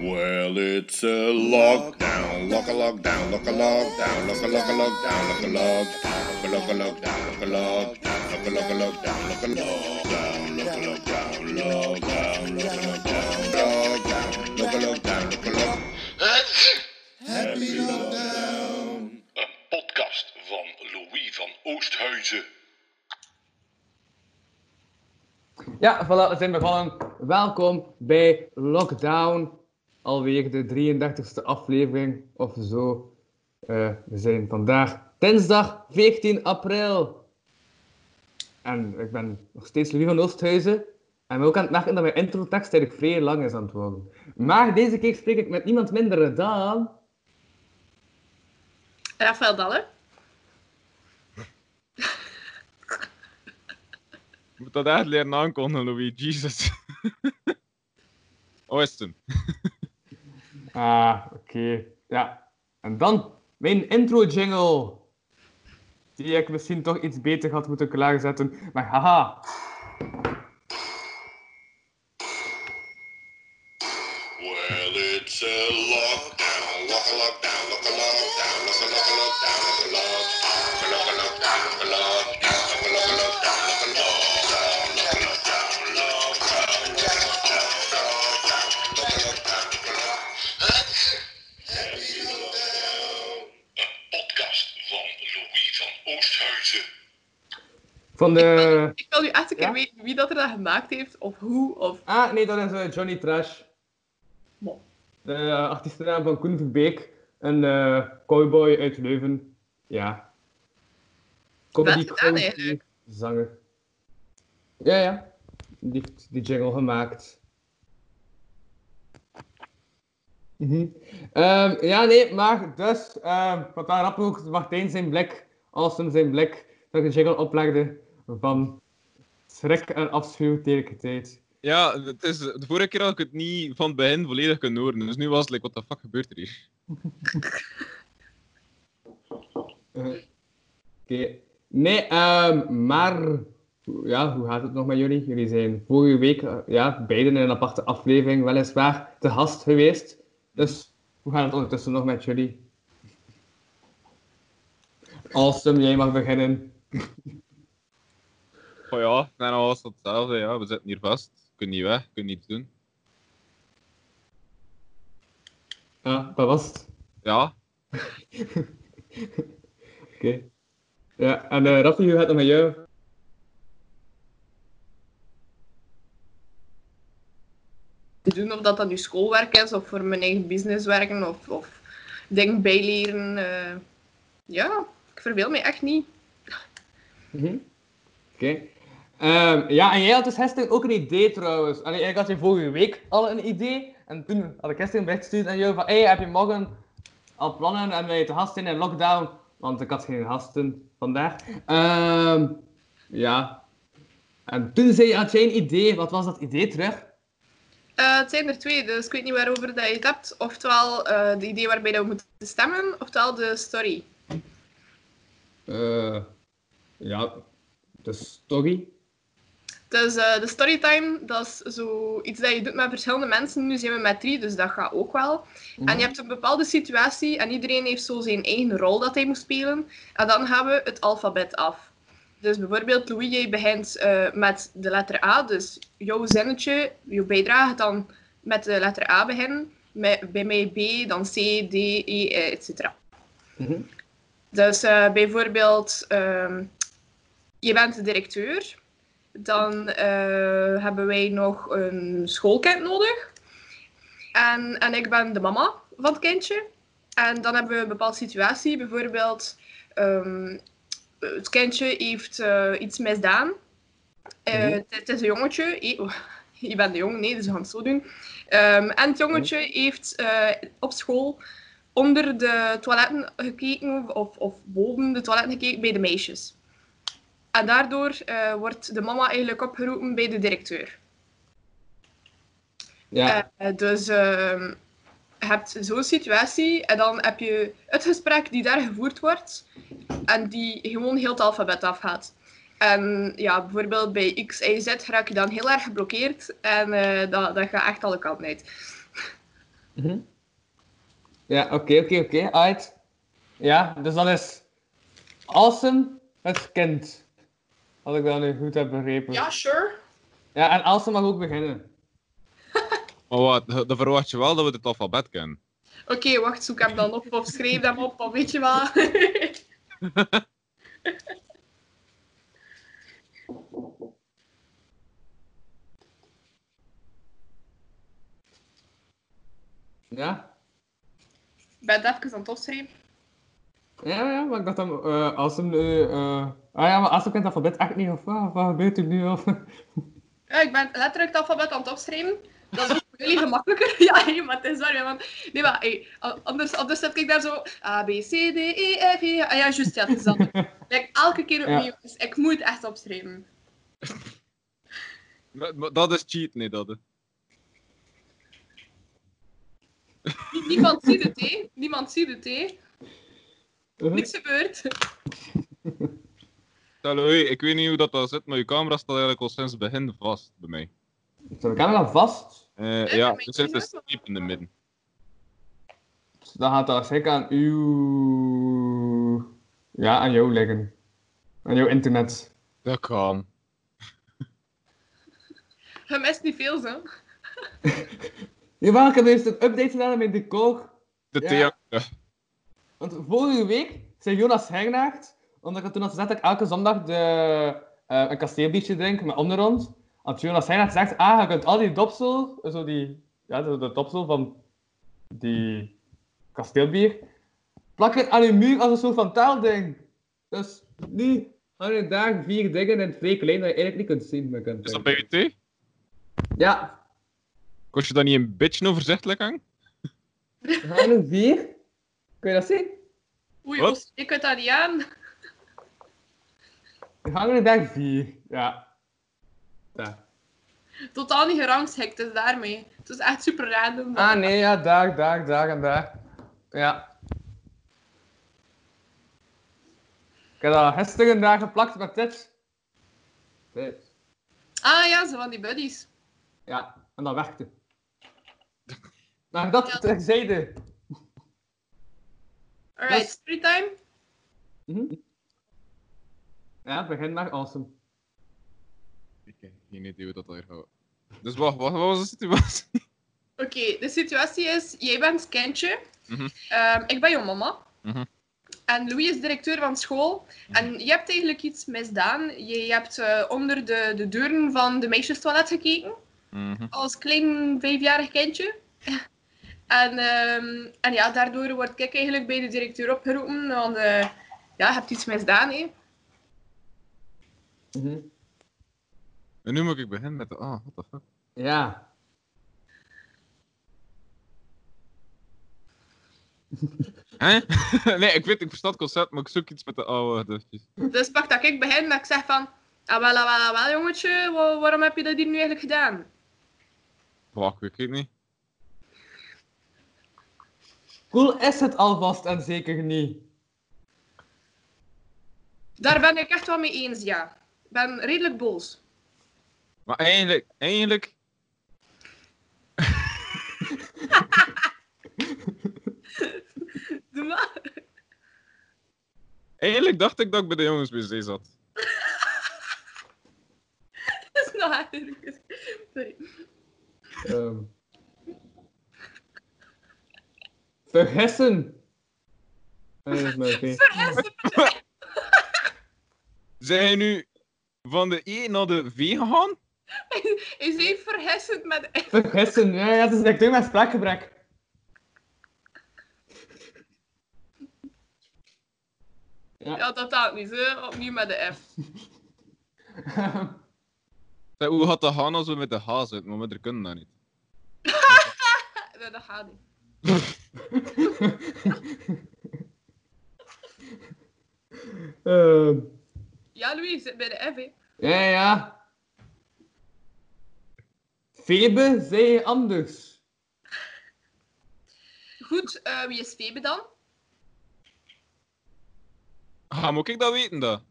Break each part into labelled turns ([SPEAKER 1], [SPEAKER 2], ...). [SPEAKER 1] Well, it's a lockdown, lock a lockdown, lock a lockdown, lock a lock a lockdown, lock a lockdown, lock a lockdown, lock a lockdown, lock a lockdown, lock a lockdown, lock a lockdown, lockdown, lock a lockdown, lockdown, lock a lockdown, lock a lock. Happy lockdown.
[SPEAKER 2] Een podcast van Louis van Oosthuizen.
[SPEAKER 3] Ja, voilà, we zijn begonnen. Welkom bij Lockdown. Alweer de 33ste aflevering of zo. Eh, we zijn vandaag dinsdag 14 april. En ik ben nog steeds Louis van Oosthuizen. En we ook aan het merken dat mijn introtekst eigenlijk vrij lang is aan het worden. Maar deze keer spreek ik met niemand minder dan...
[SPEAKER 4] Rafael Dalle.
[SPEAKER 5] Je moet dat echt leren aankondigen, Louis. Jesus. oh, is het hem.
[SPEAKER 3] Ah, oké. Ja. En dan mijn intro-jingle. Die ik misschien toch iets beter had moeten klaarzetten. Maar haha.
[SPEAKER 1] Well, it's a lockdown, lock a lockdown, lock a lockdown, lock a lock a lockdown, lock a lockdown, lock a lockdown, lock a lockdown, lock a lock a lockdown, lock a lockdown, lock a lockdown, lockdown, lock a lockdown, lockdown, lock a lockdown, lock a lockdown.
[SPEAKER 2] Een podcast van Louis van Oosthuizen.
[SPEAKER 3] Van de...
[SPEAKER 4] Ik wil nu echt een keer
[SPEAKER 3] Eh, Ja?
[SPEAKER 4] weten wie dat er dat gemaakt heeft, of hoe, of...
[SPEAKER 3] Ah, nee, dat is eh, Johnny Trash.
[SPEAKER 4] Mo.
[SPEAKER 3] De eh, artiestennaam van Koen Verbeek. Een eh, cowboy uit Leuven. Ja.
[SPEAKER 4] Best gedaan,
[SPEAKER 3] country
[SPEAKER 4] eigenlijk.
[SPEAKER 3] zanger. Ja, ja. Die heeft die jingle gemaakt. Mhm. Ehm, ja, nee, maar dus, ehm, wat daar rap ook, Martijn zijn blik, Alstom zijn blik, dat ik een jingle oplegde van schrik en afschuw tegelijkertijd.
[SPEAKER 5] Ja, het is, de vorige keer had ik het niet van het begin volledig kunnen horen. Dus nu was het like, wat de fuck gebeurt er hier?
[SPEAKER 3] Eh, Oké. Nee, ehm, maar ja, hoe gaat het nog met jullie? Jullie zijn vorige week eh, ja, beiden in een aparte aflevering weliswaar te gast geweest. Dus hoe gaat het ondertussen nog met jullie? Alstom, jij mag beginnen.
[SPEAKER 5] Oh ja, daarna was het hetzelfde. Ja. We zitten hier vast. Kunnen niet weg, kunnen niets doen.
[SPEAKER 3] Ja, dat was het.
[SPEAKER 5] Ja,
[SPEAKER 3] Oké. Ja, en eh Raffi, hoe gaat het nog met jou?
[SPEAKER 4] te doen, of dat dat nu schoolwerk is, of voor mijn eigen business werken, of, of dingen bijleren. eh. Ja, ik verveel me echt niet.
[SPEAKER 3] Mhm. Oké. Ehm, ja, en jij had dus gisteren ook een idee trouwens. Allee, ik had je vorige week al een idee. En toen had ik gisteren een bericht gestuurd aan jou van hey, heb je morgen al plannen en wil je te gast zijn in lockdown? Want ik had geen gasten vandaag. Ehm, ja. En toen zei je, had jij een idee. Wat was dat idee terug?
[SPEAKER 4] Eh, het zijn er twee, dus ik weet niet waarover dat je het hebt. Oftewel eh de idee waarbij dat we moeten stemmen, oftewel de story.
[SPEAKER 3] Eh, ja, dus Toggy.
[SPEAKER 4] Dus eh, de storytime, dat is zoiets dat je doet met verschillende mensen. Nu zijn we met drie, dus dat gaat ook wel. En je hebt een bepaalde situatie en iedereen heeft zo zijn eigen rol dat hij moet spelen. En dan gaan we het alfabet af. Dus bijvoorbeeld, Louis, jij begint eh, met de letter A. Dus jouw zinnetje, jouw bijdrage, dan met de letter A beginnen. Met- bij mij B, dan C, D, E, eh, et cetera.
[SPEAKER 3] Mhm.
[SPEAKER 4] Dus eh, bijvoorbeeld, ehm, je bent de directeur. Dan eh, hebben wij nog een schoolkind nodig. En, en ik ben de mama van het kindje. En dan hebben we een bepaalde situatie. Bijvoorbeeld, ehm, het kindje heeft eh, iets misdaan. Eh,
[SPEAKER 3] Mhm.
[SPEAKER 4] het- Het is een jongetje. Eh, oh, je bent de jong, nee, dus we gaan het zo doen. Ehm, en het jongetje heeft eh, op school onder de toiletten gekeken, of, of boven de toiletten gekeken, bij de meisjes. En daardoor eh, wordt de mama eigenlijk opgeroepen bij de directeur.
[SPEAKER 3] Ja.
[SPEAKER 4] Eh, dus ehm, je hebt zo'n situatie en dan heb je het gesprek die daar gevoerd wordt en die gewoon heel het alfabet afgaat. En ja, bijvoorbeeld bij X, Y, Z raak je dan heel erg geblokkeerd en eh, dat, dat gaat echt alle kanten uit.
[SPEAKER 3] Mhm. Ja, oké, oké, oké. Uit. Ja, dus dat is Alsem het kind. Als ik dat nu goed heb begrepen.
[SPEAKER 4] Ja, sure.
[SPEAKER 3] Ja, en Alsem mag ook beginnen.
[SPEAKER 5] Maar wat, dan verwacht je wel dat we het alfabet kennen.
[SPEAKER 4] Oké, wacht, zoek hem dan op of schrijf hem op of weet je wat.
[SPEAKER 3] Ja?
[SPEAKER 4] Ik ben het even aan het opschrijven.
[SPEAKER 3] Ja, ja, maar ik dacht dan, eh, Alsem nu... eh, Ah ja, maar Alsem kent het alfabet echt niet, of wat? Wat gebeurt er nu? Of...
[SPEAKER 4] Ja, ik ben letterlijk het alfabet aan het opschrijven. Dat is ook voor jullie gemakkelijker. Ja, hé, maar het is waar. hè, Want... Nee, maar hey, anders, anders zit ik daar zo... A, B, C, D, E, F, G... H. Ah ja, juist, ja, het is dat. Like, elke keer opnieuw. Dus ik moet het echt opschrijven.
[SPEAKER 5] Maar- maar Dat is cheat, nee, dat. hè.
[SPEAKER 4] Nie- Niemand ziet het, hé. Niemand ziet het, hé. Niks gebeurt.
[SPEAKER 5] Hallo, hey, ik weet niet hoe dat, dat zit, maar je camera staat eigenlijk al sinds het begin vast bij mij.
[SPEAKER 3] Zo, de camera vast.
[SPEAKER 5] Eh,
[SPEAKER 4] Eh,
[SPEAKER 5] ja,
[SPEAKER 4] mijn
[SPEAKER 5] er zit een
[SPEAKER 4] camera?
[SPEAKER 5] streep in de midden.
[SPEAKER 3] Dus Dan gaat dat zeker aan uw... Ja, aan jou liggen. Aan jouw internet.
[SPEAKER 5] Dat kan.
[SPEAKER 4] Je mist niet veel, zo.
[SPEAKER 3] Jawel, ik heb eerst een update gedaan met de koog.
[SPEAKER 5] De
[SPEAKER 3] Ja.
[SPEAKER 5] thea- ja.
[SPEAKER 3] Want vorige week zei Jonas Hernaert, omdat ik toen had gezegd dat ik elke zondag de, eh, een kasteelbiertje drink met onderrond. Had Jonas Hernaert gezegd, ah, je kunt al die dopsel, eh, zo die, ja, de, de dopsel van die kasteelbier, plakken aan je muur als een soort van taalding. Dus nu gaan je daar vier dingen in twee klein dat je eigenlijk niet kunt zien. Maar kunt
[SPEAKER 5] Is dat bij
[SPEAKER 3] denken.
[SPEAKER 5] je thee?
[SPEAKER 3] Ja,
[SPEAKER 5] Kost je dan niet een beetje overzichtelijk aan?
[SPEAKER 3] Haarlem vier. Kun je dat zien?
[SPEAKER 4] Oei,
[SPEAKER 5] Wat?
[SPEAKER 4] Oost, je kunt dat niet aan.
[SPEAKER 3] Haarlem daar vier, ja. Daar.
[SPEAKER 4] Totaal niet gerangschikt, dus daarmee. Het is echt super random.
[SPEAKER 3] Ah nee, ja, daar, daar, daar en daar. Ja. Ik heb dat gisteren daar geplakt met dit. Dit.
[SPEAKER 4] Ah ja, zo van die buddies.
[SPEAKER 3] Ja, en dat werkte. Maar dat terzijde. Dat
[SPEAKER 4] Alright,
[SPEAKER 3] is-
[SPEAKER 4] storytime.
[SPEAKER 3] Mhm. Ja, begin maar awesome.
[SPEAKER 5] Ik heb geen idee hoe dat daar gaat. Dus wacht, wat, wat was de situatie?
[SPEAKER 4] Oké, de situatie is, jij bent het kindje.
[SPEAKER 5] Mhm.
[SPEAKER 4] Ehm, ik ben jouw mama.
[SPEAKER 5] Mhm.
[SPEAKER 4] En Louis is directeur van school. En je hebt eigenlijk iets misdaan. Je hebt eh, onder de, de deuren van de meisjestoilet gekeken.
[SPEAKER 5] Mhm.
[SPEAKER 4] Als klein vijfjarig kindje. En, ehm, en ja, daardoor word ik eigenlijk bij de directeur opgeroepen. Want eh, ja, je hebt iets misdaan, hè.
[SPEAKER 3] Mhm.
[SPEAKER 5] En nu moet ik beginnen met de. Ah, what the fuck.
[SPEAKER 3] Ja.
[SPEAKER 5] Hè? nee, ik weet, ik versta het concept, maar ik zoek iets met de oude. Dus.
[SPEAKER 4] Dus pak dat ik begin, dat ik zeg van... Ah, wel, ah, wel, ah, wel, jongetje. wa- waarom heb je dat hier nu eigenlijk gedaan?
[SPEAKER 5] Wacht, ik weet het niet.
[SPEAKER 3] Cool is het alvast en zeker niet.
[SPEAKER 4] Daar ben ik echt wel mee eens, ja. Ik ben redelijk boos.
[SPEAKER 5] Maar eigenlijk, eigenlijk.
[SPEAKER 4] Doe maar.
[SPEAKER 5] Eigenlijk dacht ik dat ik bij de jongens BC zat.
[SPEAKER 4] Dat is nog erger. Sorry.
[SPEAKER 3] Ehm. Vergissen. Nee, dat is maar oké.
[SPEAKER 4] Verhessen.
[SPEAKER 5] Zijn jij nu van de E naar de V gegaan?
[SPEAKER 4] Is even verhessend met...
[SPEAKER 3] Vergissen, ja, ja, het is directeur met spraakgebrek.
[SPEAKER 4] Ja, dat haalt niet, hè. Opnieuw met de F.
[SPEAKER 5] Zeg, hoe had dat gaan als we met de H zitten? Maar met de kunnen dat niet.
[SPEAKER 4] Nee, dat gaat niet.
[SPEAKER 3] Ehm,
[SPEAKER 4] Ja, Louis, je zit bij de F, hè.
[SPEAKER 3] ja, ja. Febe, zei je anders.
[SPEAKER 4] Goed, eh, wie is Febe dan?
[SPEAKER 5] Ah, moet ik dat weten dan?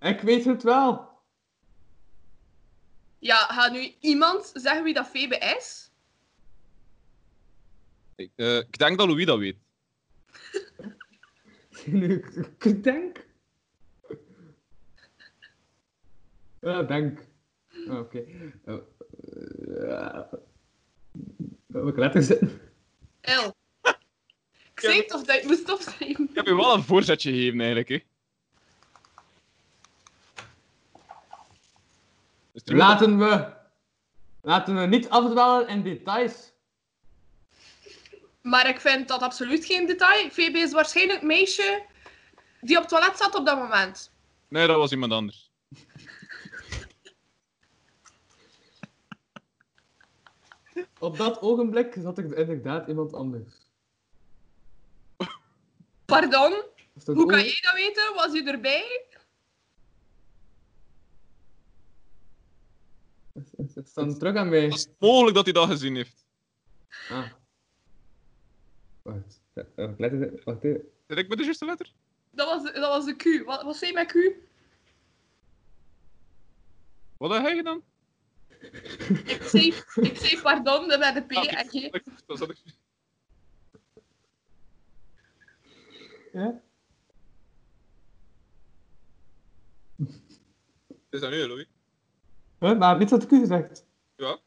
[SPEAKER 3] Ik weet het wel.
[SPEAKER 4] Ja, gaat nu iemand zeggen wie dat Febe is?
[SPEAKER 5] Ik, eh, ik denk dat Louis dat weet.
[SPEAKER 3] Ik denk. Ja, denk. Ah, Oké. Eh, eh, Welke letter zit?
[SPEAKER 4] L. Ik zei toch dat je het moest opschrijven?
[SPEAKER 5] Ik heb je wel een voorzetje gegeven eigenlijk, hè. Is er iemand-
[SPEAKER 3] Laten we, laten we niet afdwalen in details.
[SPEAKER 4] Maar ik vind dat absoluut geen detail. Febe is waarschijnlijk het meisje die op het toilet zat op dat moment.
[SPEAKER 5] Nee, dat was iemand anders.
[SPEAKER 3] Op dat ogenblik zat ik inderdaad iemand anders.
[SPEAKER 4] Pardon?
[SPEAKER 3] Is dat
[SPEAKER 4] Hoe kan
[SPEAKER 3] ook-
[SPEAKER 4] jij dat weten? Was je erbij?
[SPEAKER 3] is- Is dan terug aan mij?
[SPEAKER 5] Het is mogelijk dat hij dat gezien heeft.
[SPEAKER 3] Ah. Wacht. eh, welke letter zit- Wacht even.
[SPEAKER 5] Zit ik met de juiste letter?
[SPEAKER 4] Dat was, dat was de Q. Wat, wat zei mijn Q?
[SPEAKER 5] Wat heb jij gedaan?
[SPEAKER 4] Ik zei, ik zei pardon, dat bij de P
[SPEAKER 5] Ah,
[SPEAKER 4] en G.
[SPEAKER 5] Dat zat ik...
[SPEAKER 3] Ja?
[SPEAKER 5] Is dat nu, Louis?
[SPEAKER 3] Huh? Nou, Maar niet wat ik u gezegd.
[SPEAKER 5] Ja.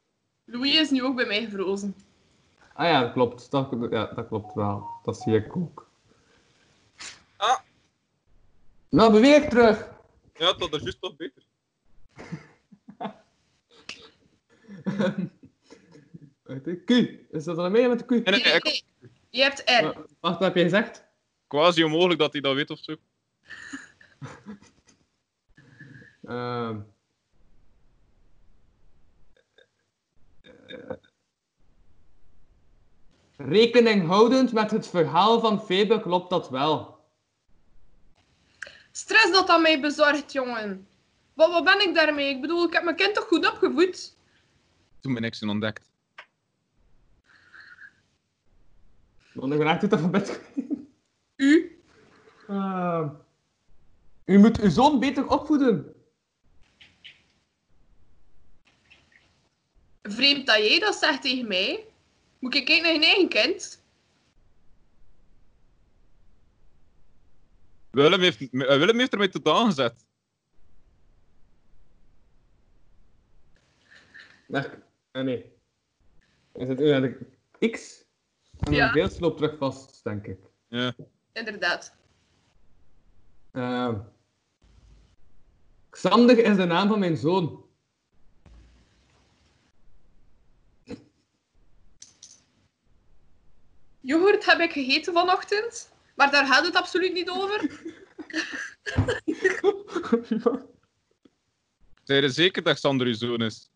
[SPEAKER 4] Louis is nu ook bij mij gevrozen.
[SPEAKER 3] Ah ja, dat klopt. Dat, ja, dat klopt wel. Dat zie ik ook.
[SPEAKER 5] Ah.
[SPEAKER 3] Nou, beweeg terug!
[SPEAKER 5] Ja, dat is juist toch beter.
[SPEAKER 3] Wacht, eh, Q. Is dat dan mee met de Q?
[SPEAKER 5] Nee, nee, ik-
[SPEAKER 4] Nee, je hebt R.
[SPEAKER 3] Wa- Wacht, wat heb je gezegd?
[SPEAKER 5] Quasi onmogelijk dat hij dat weet of zo.
[SPEAKER 3] Ehm. Eh. Rekening houdend met het verhaal van Febe klopt dat wel.
[SPEAKER 4] Stress dat aan mij bezorgt, jongen. Wat, wat ben ik daarmee? Ik bedoel, ik heb mijn kind toch goed opgevoed?
[SPEAKER 5] Toen ben ik ze ontdekt.
[SPEAKER 3] Dan heb ik echt het alfabet.
[SPEAKER 4] U?
[SPEAKER 3] Ehm. U moet uw zoon beter opvoeden.
[SPEAKER 4] Vreemd dat jij dat zegt tegen mij. Moet ik kijken naar je eigen kind?
[SPEAKER 5] Willem heeft, eh, Willem heeft ermee tot aangezet.
[SPEAKER 3] Naar... Ah, nee. Is het u naar de X? En
[SPEAKER 4] Ja.
[SPEAKER 3] een deels loopt terug vast, denk ik.
[SPEAKER 5] Ja.
[SPEAKER 4] Inderdaad.
[SPEAKER 3] Ehm. Xander is de naam van mijn zoon.
[SPEAKER 4] Yoghurt heb ik gegeten vanochtend, maar daar gaat het absoluut niet over.
[SPEAKER 5] Zijn er zeker dat Xander uw zoon is?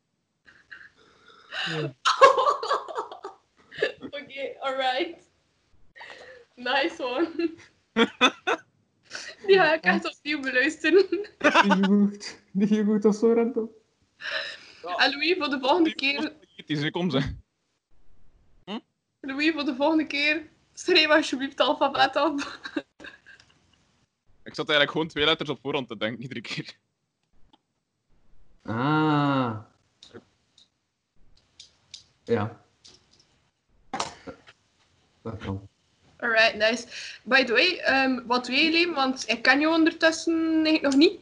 [SPEAKER 4] Oké, alright. Nice one. Die ga ik echt opnieuw beluisteren.
[SPEAKER 3] Die goed. Die goed of zo, random.
[SPEAKER 4] En Ah, Louis, voor de volgende keer,
[SPEAKER 5] Het is kom ze.
[SPEAKER 4] Louis, voor de volgende keer, schrijf alsjeblieft het alfabet af.
[SPEAKER 5] Ik zat eigenlijk gewoon twee letters op voorhand te denken, iedere keer.
[SPEAKER 3] Ah. Ja. Dat kan.
[SPEAKER 4] Alright, nice. By the way, ehm, wat doe je, Leem? Want ik ken je ondertussen eigenlijk nog niet.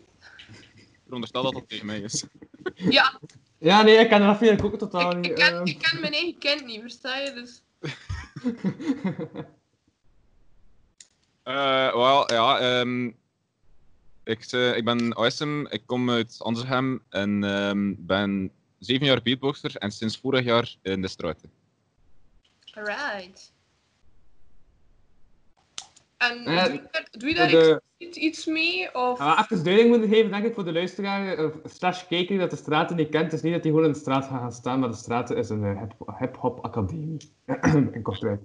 [SPEAKER 5] Ik veronderstel dat dat tegen mij is.
[SPEAKER 4] Ja,
[SPEAKER 3] Ja, nee, ik kan dat eigenlijk ook totaal
[SPEAKER 4] ik,
[SPEAKER 3] niet.
[SPEAKER 4] ik, ken,
[SPEAKER 3] ehm.
[SPEAKER 4] ik ken mijn eigen kind niet, versta je? Dus
[SPEAKER 5] Eh Wel, ja. ehm, ik, eh, ik ben Oissem, ik kom uit Anzegem en ehm, ben zeven jaar beatboxer en sinds vorig jaar in de straten.
[SPEAKER 4] Alright. En
[SPEAKER 3] Eh,
[SPEAKER 4] doe je daar, doe
[SPEAKER 3] voor
[SPEAKER 4] je daar
[SPEAKER 3] de- Ah,
[SPEAKER 4] expliciet iets mee? Of...
[SPEAKER 3] Ja, maar even duiding moeten geven, denk ik, voor de luisteraar eh, slash kijker die dat de straten niet kent. Het is niet dat die gewoon in de straat gaan gaan staan, maar de straten is een eh, hip- hip-hop academie in Kortrijk.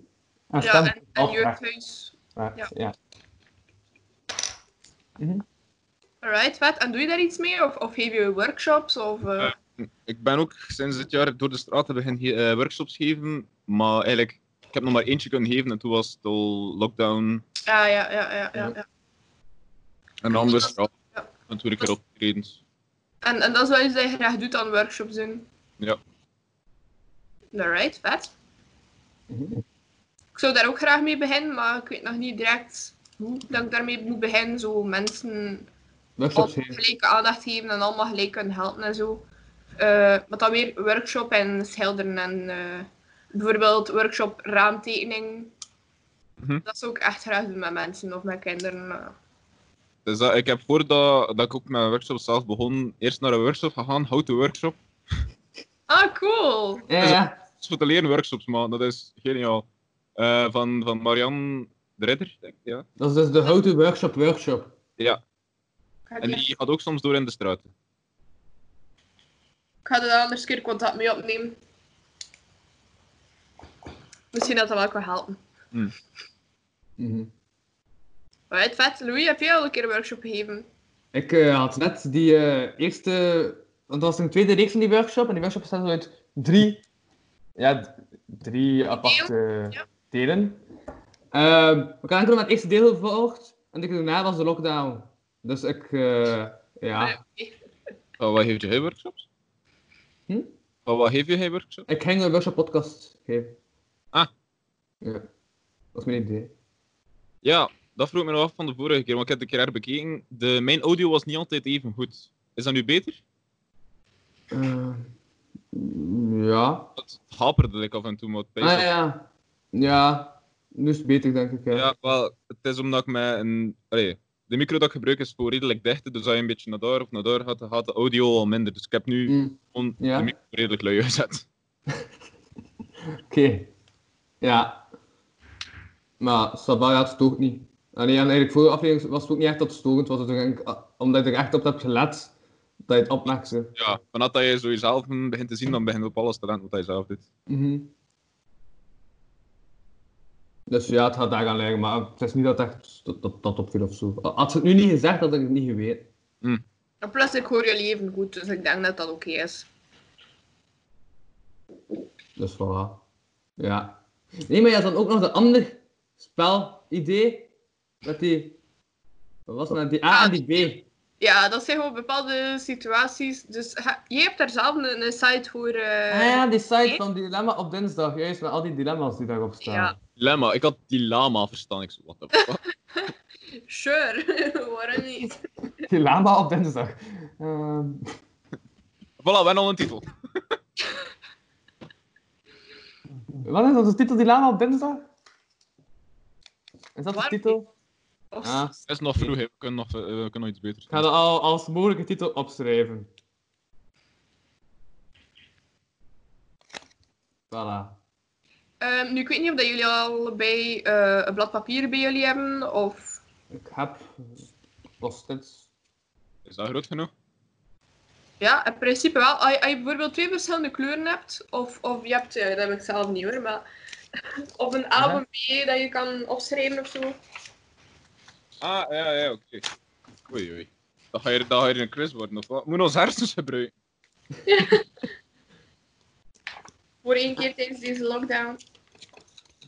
[SPEAKER 3] En
[SPEAKER 4] ja,
[SPEAKER 3] stemt
[SPEAKER 4] en, en
[SPEAKER 3] ook echt,
[SPEAKER 4] jeugdhuis.
[SPEAKER 3] echt,
[SPEAKER 4] ja.
[SPEAKER 3] ja.
[SPEAKER 4] Alright, vet. En doe je daar iets mee? Of, of geef je workshops? Of, eh,
[SPEAKER 5] Eh. Ik ben ook sinds dit jaar door de straten beginnen ge- eh, workshops geven, maar eigenlijk, ik heb nog maar eentje kunnen geven en toen was het al lockdown
[SPEAKER 4] Ah, ja, ja, ja, ja, ja,
[SPEAKER 3] Ja.
[SPEAKER 4] ja.
[SPEAKER 5] en anders, ja,
[SPEAKER 4] Ja.
[SPEAKER 5] natuurlijk weer optredens.
[SPEAKER 4] En, en dat is wat je dat je graag doet aan workshops doen.
[SPEAKER 5] Ja.
[SPEAKER 4] Alright, vet.
[SPEAKER 5] Mhm.
[SPEAKER 4] Ik zou daar ook graag mee beginnen, maar ik weet nog niet direct hoe dat ik daarmee moet beginnen. Zo mensen
[SPEAKER 3] Workshops
[SPEAKER 4] allemaal
[SPEAKER 3] geven.
[SPEAKER 4] gelijke aandacht geven en allemaal gelijk kunnen helpen en zo. Eh maar dan weer workshop en schilderen en eh, bijvoorbeeld workshop raamtekening.
[SPEAKER 5] Mhm.
[SPEAKER 4] Dat zou ik echt graag doen met mensen of met kinderen. eh.
[SPEAKER 5] Dus dat, ik heb voordat dat ik ook mijn workshop zelf begon, eerst naar een workshop gegaan, houten workshop.
[SPEAKER 4] Ah, cool!
[SPEAKER 3] Ja, ja.
[SPEAKER 5] Dat is voor te leren workshops, man. Dat is geniaal. Eh, van, van Marianne de Ridder, denk ik, ja.
[SPEAKER 3] Dat is dus de houten workshop workshop.
[SPEAKER 4] Ik ga
[SPEAKER 5] En
[SPEAKER 4] die-
[SPEAKER 5] die gaat ook soms door in de straten.
[SPEAKER 4] Ik ga er dan anders een keer contact mee opnemen. Misschien dat dat wel kan helpen.
[SPEAKER 3] Mhm.
[SPEAKER 4] Right, vet. Louis, heb jij al een keer een workshop gegeven?
[SPEAKER 3] Ik eh, had net die eh, eerste, want dat was een tweede reeks van die workshop. En die workshop bestaat uit drie, ja, d- drie aparte
[SPEAKER 4] ja.
[SPEAKER 3] delen. Ehm, ik had enkel maar het eerste deel gevolgd. En de keer daarna was de lockdown. Dus ik, eh, ja.
[SPEAKER 4] Nee.
[SPEAKER 5] Van wat geef jij workshops?
[SPEAKER 3] Hm?
[SPEAKER 5] Van wat geef jij workshops?
[SPEAKER 3] Ik ging een workshop podcast geven.
[SPEAKER 5] Ah.
[SPEAKER 3] Ja. Dat was mijn idee.
[SPEAKER 5] Ja, dat vroeg ik me nog af van de vorige keer, want ik heb de keer herbekeken. De, mijn audio was niet altijd even goed. Is dat nu beter?
[SPEAKER 3] Ehm, ja.
[SPEAKER 5] Het haperde ik af en toe, maar het
[SPEAKER 3] Ah
[SPEAKER 5] pijst ook.
[SPEAKER 3] ja. Ja. Nu is het beter, denk ik. Ja.
[SPEAKER 5] Ja, wel, het is omdat ik met een... Allee, de micro dat ik gebruik is voor redelijk dicht, dus als je een beetje naar daar of naar daar gaat, dan gaat de audio al minder. Dus ik heb nu
[SPEAKER 3] Mm.
[SPEAKER 5] gewoon
[SPEAKER 3] Ja.
[SPEAKER 5] de micro redelijk lui gezet.
[SPEAKER 3] Oké. Ja. Maar Sabah had het ook niet. Allee, en eigenlijk voor de aflevering was het ook niet echt dat het storend was. dus ik denk, ah, omdat ik er echt op heb gelet, dat je het opmerkte.
[SPEAKER 5] Ja, vanaf dat je zo jezelf mm, begint te zien, dan begint op alles te letten wat je zelf doet.
[SPEAKER 3] Mhm. Dus ja, het gaat daar gaan liggen, maar het is niet dat het echt dat, dat, dat opviel of zo. Had ze het nu niet gezegd, had ik het niet geweten.
[SPEAKER 4] En plus, ik hoor jullie even goed, dus ik denk dat dat oké is.
[SPEAKER 3] Dus voilà. Ja. Nee, maar je had dan ook nog dat ander spelidee. Met die... Wat was het nou? Die A en die B.
[SPEAKER 4] Ja, dat zijn gewoon bepaalde situaties. Dus ga- jij hebt daar zelf een, een site voor. eh,
[SPEAKER 3] Ah ja, die site
[SPEAKER 4] oké.
[SPEAKER 3] van Dilemma op dinsdag, juist met al die dilemma's die daarop staan.
[SPEAKER 4] Ja.
[SPEAKER 5] Dilemma, ik had dilemma verstaan. Ik zo, what the fuck?
[SPEAKER 4] Sure, waarom niet?
[SPEAKER 3] Dilemma op dinsdag. Ehm,
[SPEAKER 5] voilà, we hebben al een titel.
[SPEAKER 3] wat is onze titel Dilemma op dinsdag? Is dat de
[SPEAKER 4] Waarom
[SPEAKER 3] titel?
[SPEAKER 4] Of-
[SPEAKER 3] Ah.
[SPEAKER 5] Het is nog vroeg, hè. we kunnen nog, eh, we kunnen nog iets beters
[SPEAKER 3] Ik ga
[SPEAKER 5] doen.
[SPEAKER 3] dat al als mogelijke titel opschrijven. Voilà.
[SPEAKER 4] Ehm, nu, ik weet niet of dat jullie allebei eh, een blad papier bij jullie hebben, of...
[SPEAKER 3] Ik heb post-its.
[SPEAKER 5] Is dat groot genoeg?
[SPEAKER 4] Ja, in principe wel. Als je, als je bijvoorbeeld twee verschillende kleuren hebt, of, of je hebt, eh, dat heb ik zelf niet hoor, maar... Of een A of een B dat je kan opschrijven of zo.
[SPEAKER 5] Ah, ja, ja, oké. Oei, oei. Dan ga, je, dan ga je een quiz worden, of wat? Moet ons hersens gebruiken.
[SPEAKER 4] Voor één keer tijdens deze lockdown.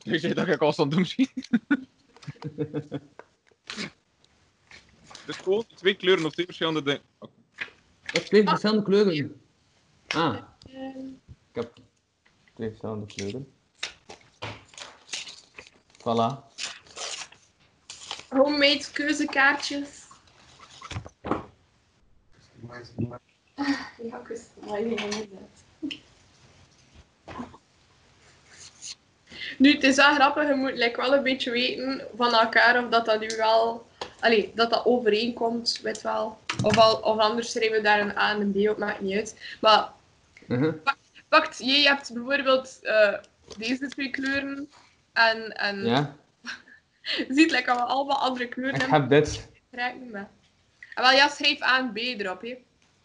[SPEAKER 5] Ik zei dat ik al stond doen misschien. Dus gewoon twee kleuren of twee verschillende dingen. Oké.
[SPEAKER 3] Dat twee verschillende kleuren. Ah,
[SPEAKER 4] Ehm,
[SPEAKER 3] ik heb twee verschillende kleuren. Voilà.
[SPEAKER 4] homemade keuzekaartjes. Ja, customizing Nu, het is wel grappig, je moet like, wel een beetje weten van elkaar of dat, dat nu wel... Allee, dat dat overeenkomt, weet wel. Of, al, of anders schrijven we daar een A en een B op, maakt niet uit. Maar
[SPEAKER 3] Mhm.
[SPEAKER 4] pakt, je hebt bijvoorbeeld eh, deze twee kleuren en, en
[SPEAKER 3] Ja,
[SPEAKER 4] je ziet lekker we allemaal andere kleuren
[SPEAKER 3] ik
[SPEAKER 4] hebben.
[SPEAKER 3] heb dit.
[SPEAKER 4] Raak niet meer. Ah, wel, ja, schrijf A en B erop. Hè.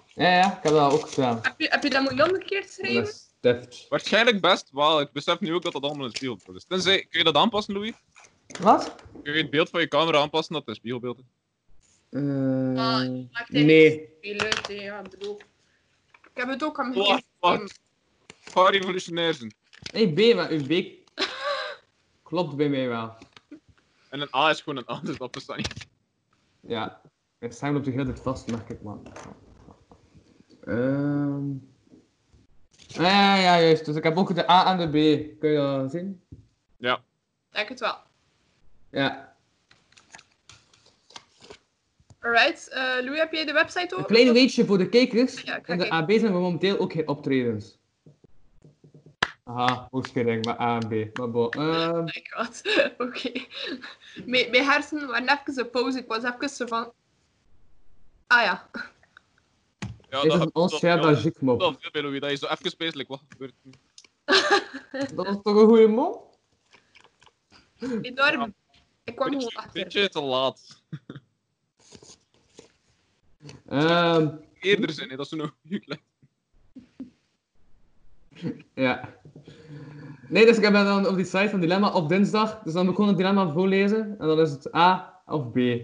[SPEAKER 3] Ja, ja, ik heb dat ook gedaan.
[SPEAKER 4] Heb, je, heb je dat moeten omgekeerd
[SPEAKER 3] Dat
[SPEAKER 4] schrijven?
[SPEAKER 3] is stift.
[SPEAKER 5] Waarschijnlijk best, wel. Ik besef nu ook dat dat allemaal een spiegelbeeld is. Tenzij, kun je dat aanpassen, Louis?
[SPEAKER 3] Wat?
[SPEAKER 5] Kun je het beeld van je camera aanpassen dat het een spiegelbeeld is?
[SPEAKER 4] Ah, maakt hij niet
[SPEAKER 3] Eh, nee.
[SPEAKER 4] veel uit, hè. Ja, ik bedoel. Ik heb het ook
[SPEAKER 5] Wacht,
[SPEAKER 4] omgekeerd.
[SPEAKER 5] wacht. Ga revolutionair zijn.
[SPEAKER 3] Hey, B, maar uw B klopt bij mij wel.
[SPEAKER 5] En een A is gewoon een A, dus dat bestaat niet.
[SPEAKER 3] Ja. Ik sta op de hele tijd vast, merk ik, man. Ehm. Ah, ja, ja, juist. Dus ik heb ook de A en de B. Kun je dat zien?
[SPEAKER 5] Ja.
[SPEAKER 4] Denk het wel.
[SPEAKER 3] Ja.
[SPEAKER 4] Alright, eh, Louis, heb jij de website
[SPEAKER 3] Een
[SPEAKER 4] ook? Oh,
[SPEAKER 3] klein weetje voor de kijkers.
[SPEAKER 4] Ja, ik ga
[SPEAKER 3] In de
[SPEAKER 4] kijken.
[SPEAKER 3] AB zijn we momenteel ook geen optredens. Aha, hoogschering met A en B. Maar bon. ehm,
[SPEAKER 4] my god. Oké. Mijn, mijn hersenen waren even een pauze. Ik was even zo van... Ah ja.
[SPEAKER 5] Ja,
[SPEAKER 3] dit is een
[SPEAKER 5] dat
[SPEAKER 3] onschijnbaar mop.
[SPEAKER 5] veel bij Louis, dat je zo even spacelijk, wat gebeurt er nu?
[SPEAKER 3] Dat was toch een goede mop?
[SPEAKER 4] Enorm.
[SPEAKER 5] Ja.
[SPEAKER 4] Ik kwam gewoon
[SPEAKER 5] Beetje,
[SPEAKER 4] achter.
[SPEAKER 5] beetje te laat.
[SPEAKER 3] Ehm,
[SPEAKER 5] Eerder zijn, hè, dat is een huwelijk.
[SPEAKER 3] ja. Nee, dus ik ben dan op die site van Dilemma op dinsdag. Dus dan moet ik gewoon het dilemma voorlezen. En dan is het A of B. Ah,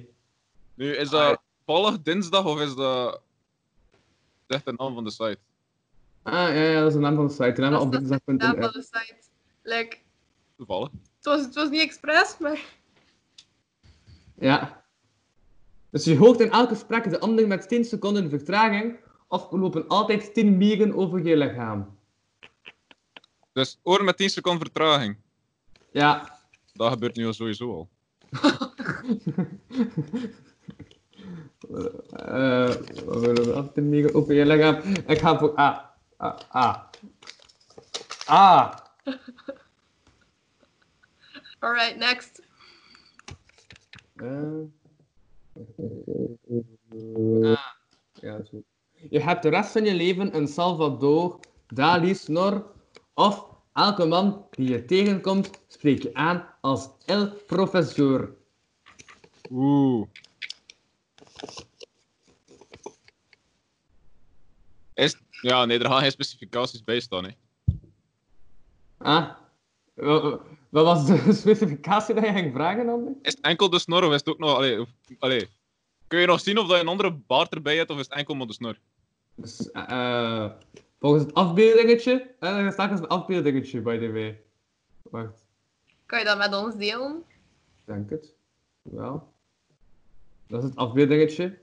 [SPEAKER 5] Nu, is dat toevallig dinsdag of is dat... Zegt de naam van de site.
[SPEAKER 3] Ah, ja, ja, dat is de naam van de site. Dilemma
[SPEAKER 4] Dat
[SPEAKER 3] op
[SPEAKER 4] is dus dat de naam
[SPEAKER 3] dinsdag.nl.
[SPEAKER 4] van de site. Like,
[SPEAKER 5] Toevallig.
[SPEAKER 4] het, was, het was niet expres, maar...
[SPEAKER 3] Ja. Dus je hoort in elk gesprek de ander met 10 seconden vertraging. Of er lopen altijd 10 mieren over je lichaam.
[SPEAKER 5] Dus oren met 10 seconden vertraging.
[SPEAKER 3] Ja.
[SPEAKER 5] Dat gebeurt nu al sowieso al.
[SPEAKER 3] Eh, wat willen we af? 10 mieren over je lichaam. Ik ga voor A. A. A. A.
[SPEAKER 4] Alright, next.
[SPEAKER 3] Eh. Ah, ja, dat is goed. Je hebt de rest van je leven een Salvador, Dali, Snor of elke man die je tegenkomt spreek je aan als El Professor.
[SPEAKER 5] Oeh. Is... Ja, nee, er gaan geen specificaties bij staan, hè.
[SPEAKER 3] Ah, wa- wa- wat was de specificatie dat je ging vragen, Ander?
[SPEAKER 5] Is het enkel de snor of is het ook nog... Allee, of- allee. Kun je nog zien of dat je een andere baard erbij hebt of is het enkel maar de snor?
[SPEAKER 3] Dus, eh, volgens het afbeeldingetje, eh, daar staat eens een afbeeldingetje, by the way. Wacht,
[SPEAKER 4] Kan je dat met ons delen?
[SPEAKER 3] ik denk het. Wel. Dat is het afbeeldingetje.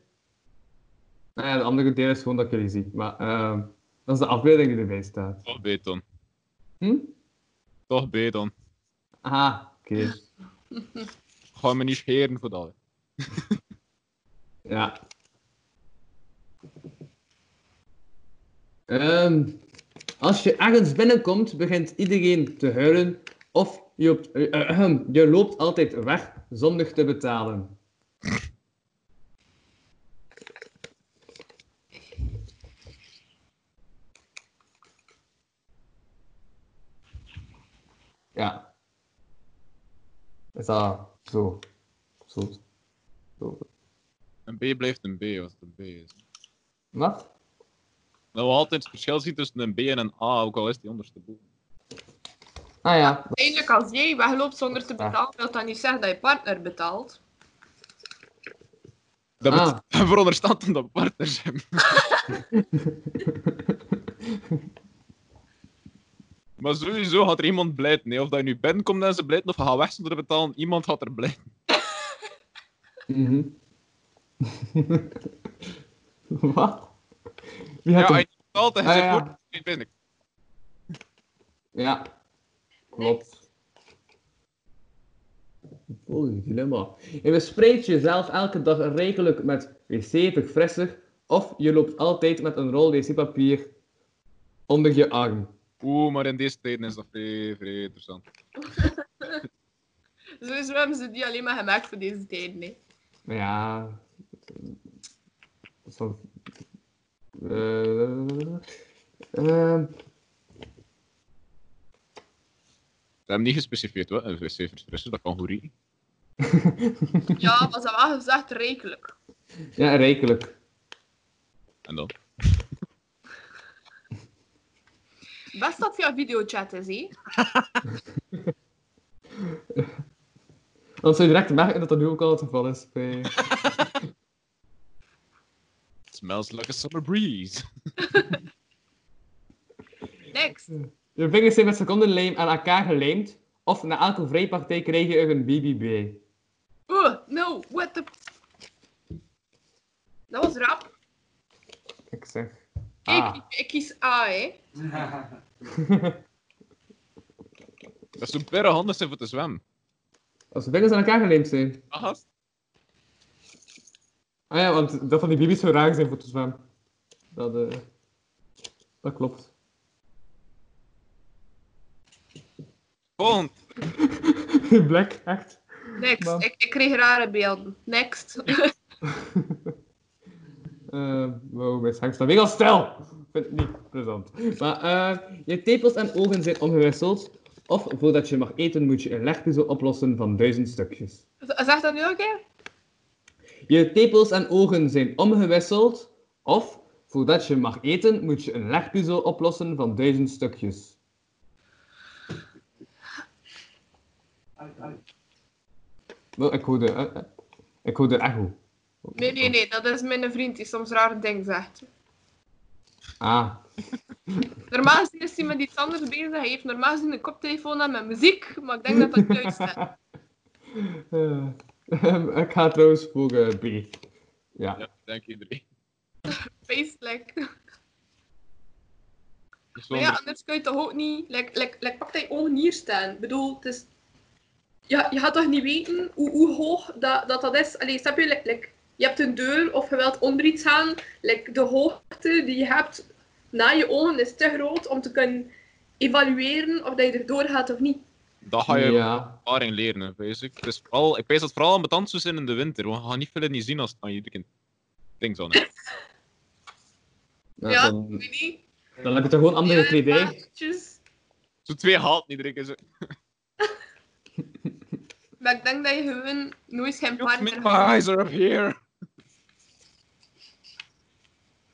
[SPEAKER 3] Nou ja, de andere deel is gewoon dat ik jullie zie. Maar ehm, dat is de afbeelding die erbij staat.
[SPEAKER 5] Toch beet dan.
[SPEAKER 3] Hm?
[SPEAKER 5] Toch beet dan.
[SPEAKER 3] Ah, oké.
[SPEAKER 5] Ga me niet scheren voor dat. hè.
[SPEAKER 3] Ja. Ehm, als je ergens binnenkomt, begint iedereen te huilen of je, op- eh, eh, ehem, je loopt altijd weg zonder te betalen. Ja. Is dat zo? Zo. zo.
[SPEAKER 5] Een B blijft een B als het een B is.
[SPEAKER 3] Wat?
[SPEAKER 5] Dat we altijd het verschil zien tussen een B en een A, ook al is die ondersteboven.
[SPEAKER 3] Ah ja,
[SPEAKER 4] Eigenlijk, als jij wegloopt zonder te betalen, wil dat niet zeggen dat je partner betaalt.
[SPEAKER 5] Dat
[SPEAKER 3] Ah.
[SPEAKER 5] bet- veronderstelt dan dat we partners hebben. maar sowieso gaat er iemand blijten. Hè. Of dat je nu binnenkomt en ze blijten of je gaat weg zonder te betalen, iemand gaat er blijten.
[SPEAKER 3] Mhm. Wat? Wie
[SPEAKER 5] Ja,
[SPEAKER 3] had hem-
[SPEAKER 5] als je niet betaalt en je
[SPEAKER 3] Ah,
[SPEAKER 5] zegt,
[SPEAKER 3] ja.
[SPEAKER 5] goed, ik ben ik.
[SPEAKER 3] ja. Klopt. Volgende dilemma. Je bespreidt jezelf elke dag rijkelijk met wc frissig of je loopt altijd met een rol wc-papier onder je arm.
[SPEAKER 5] Oeh, maar in deze tijden is dat vrij, vrij interessant.
[SPEAKER 4] Sowieso hebben ze die alleen maar gemaakt voor deze tijd, nee.
[SPEAKER 3] Maar Nou ja... dat is wel- Eh, ehm,
[SPEAKER 5] Ze hebben niet gespecificeerd wat, een wc-verfrisser, dat kan goed rieken.
[SPEAKER 4] Ja, was dat wel gezegd, rijkelijk.
[SPEAKER 3] ja, rijkelijk.
[SPEAKER 5] En dan?
[SPEAKER 4] Best dat via videochat is, hé.
[SPEAKER 3] Dan zou je direct merken dat dat nu ook al het geval is. Bij...
[SPEAKER 5] Smells like a summer breeze.
[SPEAKER 4] Next.
[SPEAKER 3] Je vingers zijn met secondenlijm aan elkaar gelijmd. Of na elke vrijpartij krijg je er een BBB.
[SPEAKER 4] Oeh, Oh, no, what the... Dat was rap.
[SPEAKER 3] Ik zeg.
[SPEAKER 4] Kijk,
[SPEAKER 3] Ah.
[SPEAKER 4] ik, ik kies A, hè.
[SPEAKER 5] Dat is een perre handen zijn voor te zwemmen.
[SPEAKER 3] Als de vingers aan elkaar geleemd zijn.
[SPEAKER 5] Aha.
[SPEAKER 3] Ah ja, want dat van die baby's zou raar zijn voor te zwemmen. Dat, eh, dat klopt.
[SPEAKER 5] Volgend.
[SPEAKER 3] Black, echt.
[SPEAKER 4] Next.
[SPEAKER 3] Man.
[SPEAKER 4] Ik, ik kreeg rare beelden. Next.
[SPEAKER 3] Eh, wow, mijn scherm staat weer al stil. Ik vind het niet plezant. Maar eh, je tepels en ogen zijn omgewisseld. Of voordat je mag eten moet je een legpuzzel oplossen van duizend stukjes.
[SPEAKER 4] Zeg dat nu ook, hè?
[SPEAKER 3] Je tepels en ogen zijn omgewisseld. Of voordat je mag eten moet je een legpuzzel oplossen van duizend stukjes. Wel, ik hoorde, eh, eh, ik hoorde echo.
[SPEAKER 4] Nee, nee, nee. Dat is mijn vriend die soms rare dingen zegt.
[SPEAKER 3] Ah,
[SPEAKER 4] Normaal gezien is hij met iets anders bezig. Hij heeft normaal gezien een koptelefoon aan met muziek. Maar ik denk dat dat juist is.
[SPEAKER 3] Eh, ehm, ik ga trouwens voor eh, B. Ja.
[SPEAKER 5] Ja, dank iedereen.
[SPEAKER 4] Feestelijk. Maar ja,
[SPEAKER 5] Bijzonder.
[SPEAKER 4] anders kun je toch ook niet... Like, like, like, pak dat je ogen hier staan. Ik bedoel, het is... Ja, je gaat toch niet weten hoe, hoe hoog dat, dat, dat is? Allee, snap je? Like, like, je hebt een deur of je wilt onder iets gaan. Like, de hoogte die je hebt na je ogen is te groot om te kunnen evalueren of dat je erdoor gaat of niet.
[SPEAKER 5] Dat ga je
[SPEAKER 3] Ja.
[SPEAKER 5] ervaring leren, hè, vrees ik. Het is vooral, ik weet dat het vooral ambetant zou zijn in de winter, want je gaat niet veel niet zien als het aan je kind. Denk zo, hè.
[SPEAKER 3] Ja,
[SPEAKER 4] ja, ik
[SPEAKER 3] Dan,
[SPEAKER 4] weet niet.
[SPEAKER 3] dan heb ik toch gewoon andere
[SPEAKER 4] Ja,
[SPEAKER 3] 3D.
[SPEAKER 4] plaatjes.
[SPEAKER 5] Zo twee haalt niet drinken. Zo.
[SPEAKER 4] Maar ik denk dat je gewoon nooit geen
[SPEAKER 5] Look,
[SPEAKER 4] paar
[SPEAKER 5] my
[SPEAKER 4] meer gaat.
[SPEAKER 5] eyes are up here.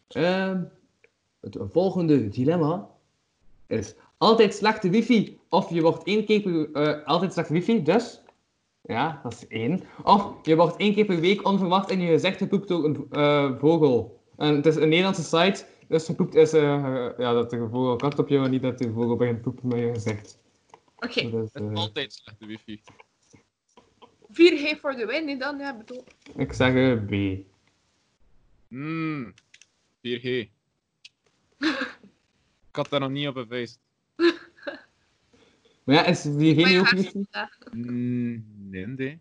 [SPEAKER 3] Ehm, het volgende dilemma is altijd slechte wifi of je wordt één keer per... eh, altijd slechte wifi, dus... Ja, dat is één. Of je wordt één keer per week onverwacht in je gezicht gepoept door een eh, vogel. En het is een Nederlandse site, dus gepoept is... eh, eh, ja, dat de vogel kakt op jou en niet dat de vogel begint poepen met je gezicht.
[SPEAKER 4] Oké,
[SPEAKER 3] Dus,
[SPEAKER 5] Het is
[SPEAKER 3] eh,
[SPEAKER 5] altijd slechte wifi.
[SPEAKER 4] 4G voor de win, hè, dan. Ja, ik bedoel...
[SPEAKER 3] ik zeg eh, B.
[SPEAKER 5] Mmm. 4G. ik had daar nog niet op een feest.
[SPEAKER 3] Maar ja, is die
[SPEAKER 4] Maar eh,
[SPEAKER 3] geen
[SPEAKER 4] je
[SPEAKER 3] ook
[SPEAKER 4] gaat
[SPEAKER 3] niet?
[SPEAKER 4] vandaag.
[SPEAKER 5] Mm, nee, nee.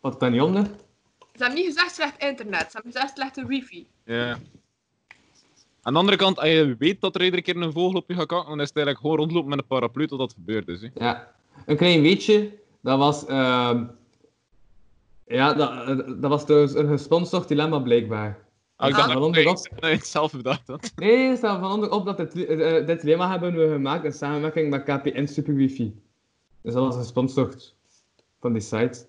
[SPEAKER 3] Wat dan niet onder?
[SPEAKER 4] Ze hebben niet gezegd slecht internet, ze hebben gezegd slechte wifi.
[SPEAKER 5] Ja. Aan de andere kant, als je weet dat er iedere keer een vogel op je gaat kakken, dan is het eigenlijk gewoon rondlopen met een paraplu tot dat gebeurd is. Hè.
[SPEAKER 3] Ja. Een klein weetje, dat was... ehm, ja, dat, eh, dat was dus een gesponsord dilemma blijkbaar.
[SPEAKER 5] Ah, ik
[SPEAKER 4] Ah.
[SPEAKER 5] dacht
[SPEAKER 3] Van
[SPEAKER 5] dat
[SPEAKER 3] onder
[SPEAKER 5] ik
[SPEAKER 3] op.
[SPEAKER 5] ik heb het zelf bedacht had.
[SPEAKER 3] Nee, er staat van onder op dat dit, eh, dit dilemma hebben we gemaakt in samenwerking met KPN Super Wifi. Dus dat was een gesponsord van die site.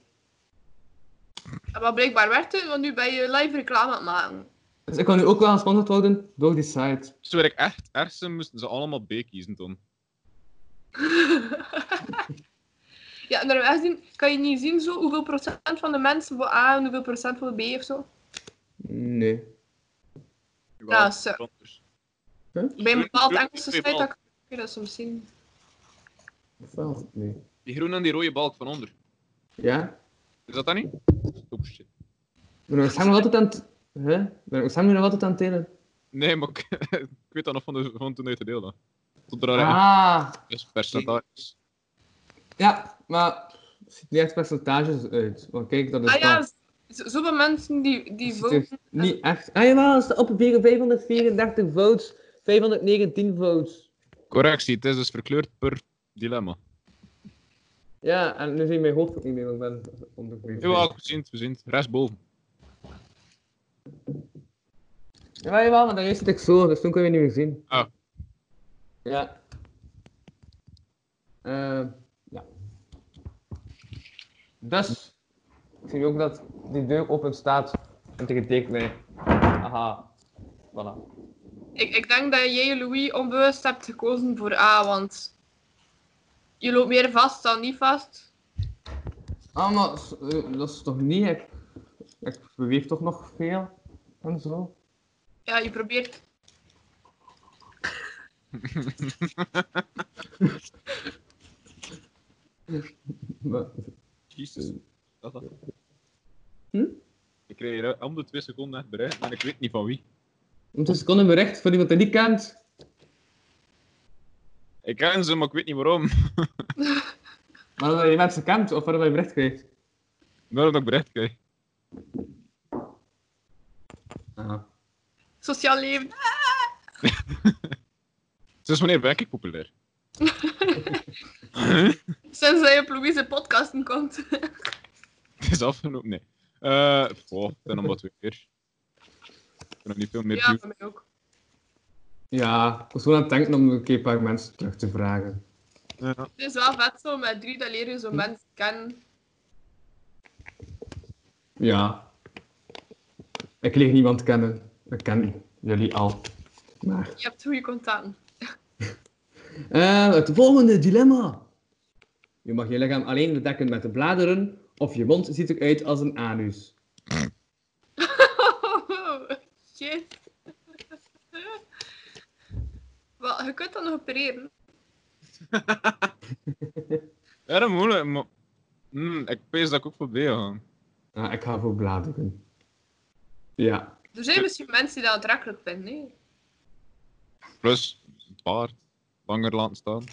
[SPEAKER 4] Maar blijkbaar werkt het, want nu ben je live reclame aan het maken.
[SPEAKER 3] Dus ik kan nu ook wel gesponsord worden door die site.
[SPEAKER 5] Dus waar ik echt erg zijn, moesten ze allemaal B kiezen, Tom.
[SPEAKER 4] Ja, normaal gezien kan je niet zien zo hoeveel procent van de mensen voor A en hoeveel procent voor B of zo.
[SPEAKER 3] Nee.
[SPEAKER 4] Ja, zo. Bij een bepaald Engelse site dat kun je dat soms zien.
[SPEAKER 3] Of wel? Nee.
[SPEAKER 5] Die groene en die rode balk van onder.
[SPEAKER 3] Ja?
[SPEAKER 5] Is dat dat niet? Oh shit.
[SPEAKER 3] Maar ik zijn nog altijd aan het... Hè? Maar ik zijn nog altijd aan het telen.
[SPEAKER 5] Nee, maar ik, ik weet dat nog van, de, van toen uit de deel dan. Tot er al een
[SPEAKER 3] Ah!
[SPEAKER 5] vast percentage is.
[SPEAKER 3] Ja, maar het ziet niet echt percentages uit. Want kijk, dat is
[SPEAKER 4] Ah ja,
[SPEAKER 3] wel-
[SPEAKER 4] z- z- zoveel mensen die, die
[SPEAKER 3] het is
[SPEAKER 4] voten.
[SPEAKER 3] niet echt. Ah jawel, het staat op 534 votes, 519 votes.
[SPEAKER 5] Correctie, het is dus verkleurd per dilemma.
[SPEAKER 3] Ja, en nu zie je mijn hoofd ook niet meer, want ik ben onderbreven.
[SPEAKER 5] Jawel, we zien het, we zien het. Rechtsboven.
[SPEAKER 3] Jawel, Ah, jawel, maar dan is het zo, dus toen kun je niet meer zien.
[SPEAKER 5] Ah.
[SPEAKER 3] Ja. Eh, ja. Dus, ik zie ook dat die deur open staat en tegen mij. Aha. Voilà.
[SPEAKER 4] Ik, ik denk dat jij, Louis, onbewust hebt gekozen voor A, want je loopt meer vast dan niet vast.
[SPEAKER 3] Ah, maar s- eh, dat is toch niet. Ik, ik beweeg toch nog veel en zo.
[SPEAKER 4] Ja, je probeert.
[SPEAKER 3] Maar,
[SPEAKER 5] Jezus. Dat, dat.
[SPEAKER 3] Hm?
[SPEAKER 5] Ik kreeg hier om de twee seconden echt bereid, maar ik weet niet van wie.
[SPEAKER 3] Ondertussen kon een bericht voor iemand die niet kent.
[SPEAKER 5] Ik ken ze, maar ik weet niet waarom.
[SPEAKER 3] Maar dat je mensen kent of waarom je bericht krijgt.
[SPEAKER 5] Waarom dat ik bericht krijg.
[SPEAKER 3] Ah.
[SPEAKER 4] Sociaal leven.
[SPEAKER 5] Sinds wanneer ben ik populair?
[SPEAKER 4] Sinds hij op Louise podcasten komt.
[SPEAKER 5] Het is afgenomen, nee. Eh, oh, ik ben nog maar twee keer. Ik kan nog niet veel meer
[SPEAKER 4] Ja,
[SPEAKER 5] doen.
[SPEAKER 4] voor mij ook.
[SPEAKER 3] Ja, ik was gewoon aan het denken om een keer een paar mensen terug te vragen.
[SPEAKER 5] Ja.
[SPEAKER 4] Het is wel vet zo, met drie, dat leer je zo mensen kennen.
[SPEAKER 3] Ja. Ik leer niemand kennen. Ik ken jullie al. Maar.
[SPEAKER 4] Je hebt goede contacten.
[SPEAKER 3] Eh, het volgende dilemma. Je mag je lichaam alleen bedekken met de bladeren, of je mond ziet eruit als een anus.
[SPEAKER 4] Yes. Wel, je kunt dat nog opereren.
[SPEAKER 5] Ja, dat is moeilijk, maar... Hmm, ik pees dat ik ook voor B ga.
[SPEAKER 3] Ah, ik ga voor bladeren. Ja.
[SPEAKER 4] Er zijn misschien mensen die dat aantrekkelijk vinden. Nee.
[SPEAKER 5] Plus, het paard. Langer laten staan.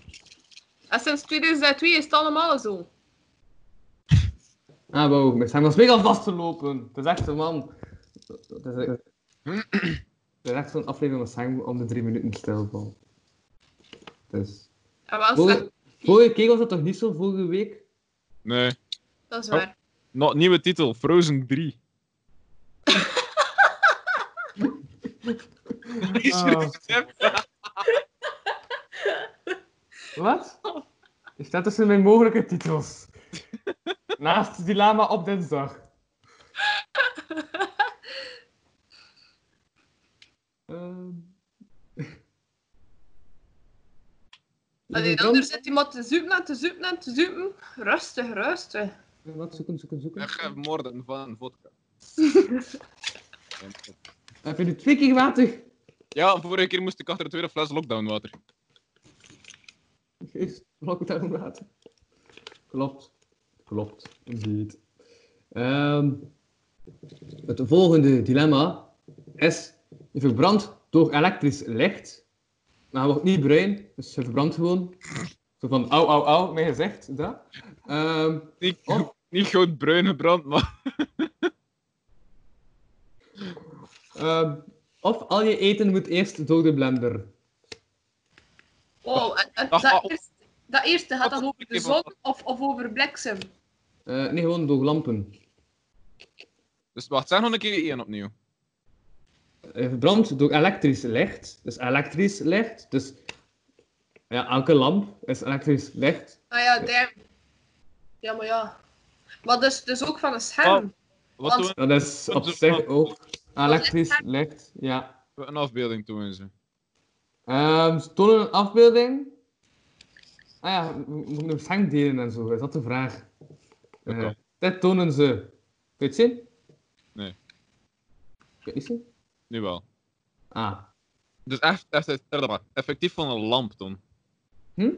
[SPEAKER 4] En sinds 2002 is het allemaal zo.
[SPEAKER 3] Ah, wow. Mijn stem was weer al vastgelopen. Het is echt een man. Het is, het is echt zo'n aflevering met Sam om de drie minuten stilval. Dus.
[SPEAKER 4] En wel slecht.
[SPEAKER 3] Vorige, vorige keer was dat toch niet zo, vorige week?
[SPEAKER 5] Nee.
[SPEAKER 4] Dat is waar.
[SPEAKER 5] Nog nieuwe titel, Frozen 3. Nee, serieus, hè?
[SPEAKER 3] Wat? Je staat tussen mijn mogelijke titels. Naast Dilemma op dinsdag. Ehm.
[SPEAKER 4] Allee,
[SPEAKER 3] Even
[SPEAKER 4] dan er
[SPEAKER 3] kans-
[SPEAKER 4] zit iemand te zoeken en te zoeken en te zoeken. Rustig, rustig.
[SPEAKER 3] Wat zoeken, zoeken, zoeken.
[SPEAKER 5] Ik ga moorden van vodka.
[SPEAKER 3] Heb je nu twee keer water?
[SPEAKER 5] Ja, vorige keer moest ik achter de tweede fles lockdown water.
[SPEAKER 3] Geef lockdown water. Klopt. Klopt. Indeed. Ehm, het volgende dilemma is: je verbrandt door elektrisch licht, maar je wordt niet bruin, dus je verbrandt gewoon. Zo van au, au, au, mijn gezicht. Dat. Ehm,
[SPEAKER 5] Niet,
[SPEAKER 3] Oh.
[SPEAKER 5] niet goudbruin gebrand, maar
[SPEAKER 3] ehm, of al je eten moet eerst door de blender.
[SPEAKER 4] Wow, en, en
[SPEAKER 5] Dag,
[SPEAKER 4] dat,
[SPEAKER 5] oh.
[SPEAKER 4] eerste, dat eerste gaat dan over de
[SPEAKER 5] Oké,
[SPEAKER 4] zon
[SPEAKER 5] wat-
[SPEAKER 4] of, of over bliksem.
[SPEAKER 3] Eh, nee, gewoon door lampen.
[SPEAKER 5] Dus wacht, zeg nog een keer één opnieuw.
[SPEAKER 3] Eh, verbrand door elektrisch licht. Dus elektrisch licht. Dus ja, elke lamp is elektrisch licht.
[SPEAKER 4] Nou ja, damn. Ja, maar ja. Maar dus, dus ook van een scherm.
[SPEAKER 5] Wat
[SPEAKER 4] Want-
[SPEAKER 5] doen
[SPEAKER 3] Dat is op
[SPEAKER 5] Zo-
[SPEAKER 3] zich ook elektrisch licht. Ja.
[SPEAKER 5] we? Een afbeelding doen ze.
[SPEAKER 3] Ehm ze tonen een afbeelding. Ah ja, we we moeten een zang delen en zo. Is dat de vraag?
[SPEAKER 5] Dat
[SPEAKER 3] Eh,
[SPEAKER 5] kan.
[SPEAKER 3] dit tonen ze. Kun je het zien?
[SPEAKER 5] Nee.
[SPEAKER 3] Kun je het niet zien?
[SPEAKER 5] Nu wel.
[SPEAKER 3] Ah.
[SPEAKER 5] Dus echt, echt, echt- echt- effectief van een lamp, Tom.
[SPEAKER 3] Hm?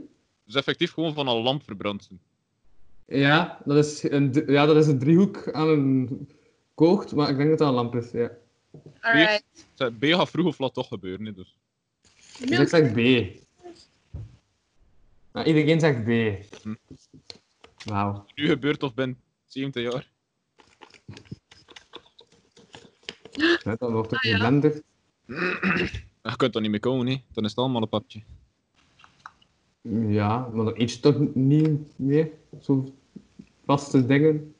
[SPEAKER 5] Dus effectief gewoon van een lamp verbrand zijn.
[SPEAKER 3] Ja, dat is een, d- ja, dat is een driehoek aan een koord, maar ik denk dat dat een lamp is. Ja.
[SPEAKER 4] Alright.
[SPEAKER 5] Zeg, B gaat vroeg of laat toch gebeuren, hè, dus.
[SPEAKER 3] Dus ik zeg B. Nou, iedereen zegt B.
[SPEAKER 5] Hm.
[SPEAKER 3] Wauw.
[SPEAKER 5] Nu gebeurt of ben 70 jaar.
[SPEAKER 3] Net, Dan wordt het
[SPEAKER 4] Ah, ja.
[SPEAKER 3] geblendigd.
[SPEAKER 5] Je kunt er niet meer komen, hè. Dan is het allemaal een papje.
[SPEAKER 3] Ja, maar dat eet je toch niet meer? Zo vaste dingen.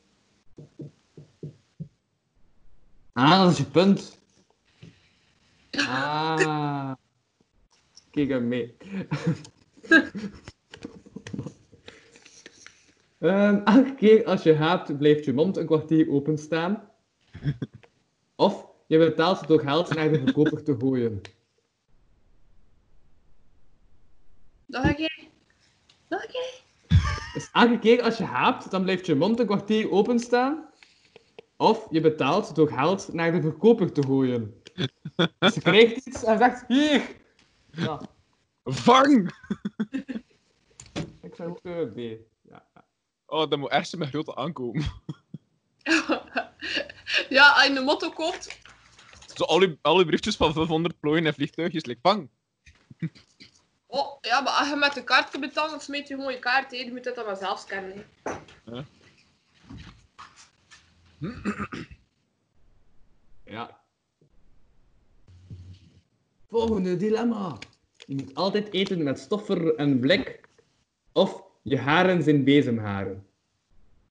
[SPEAKER 3] Ah, dat is je punt. Ah. Kijk hem mee. Ehm, elke keer als je haapt, blijft je mond een kwartier openstaan. Of je betaalt door geld naar de verkoper te gooien.
[SPEAKER 4] Nog een keer. Nog een keer.
[SPEAKER 3] Dus elke keer als je haapt, dan blijft je mond een kwartier openstaan. Of je betaalt door geld naar de verkoper te gooien. Dus je krijgt iets en zegt, hier! Ja,
[SPEAKER 5] Vang!
[SPEAKER 3] ik zou ook eh, B. Ja.
[SPEAKER 5] Oh, dat moet echt met grote aankomen.
[SPEAKER 4] ja, als je een motto koopt,
[SPEAKER 5] Zo, al, uw, al uw briefjes van 500 plooien en vliegtuigjes, like, bang.
[SPEAKER 4] Oh, ja, maar als je met de kaart kunt betalen, dan smeet je gewoon je kaart in. Je moet dat dan maar zelf scannen. hè.
[SPEAKER 3] Ja. Volgende dilemma. Je moet altijd eten met stoffer en blik. Of je haren zijn bezemharen.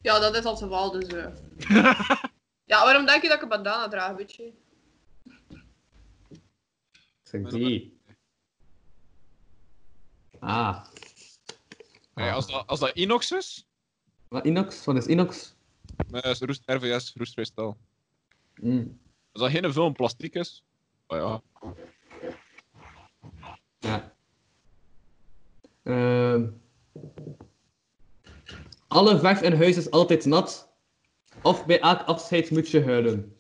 [SPEAKER 4] Ja, dat is al het geval, dus... eh. ja, waarom denk je dat ik een bandana draag, weet je?
[SPEAKER 3] Zeg die. Ah.
[SPEAKER 5] Allee, als, dat, als dat inox is,
[SPEAKER 3] Wat inox? Wat is inox?
[SPEAKER 5] eh, is roest, RVS, roestvrij staal.
[SPEAKER 3] Mm.
[SPEAKER 5] Als dat geen film plastic is, oh ja.
[SPEAKER 3] Ja. Ehm. alle verf in huis is altijd nat. Of bij elk afscheid moet je huilen.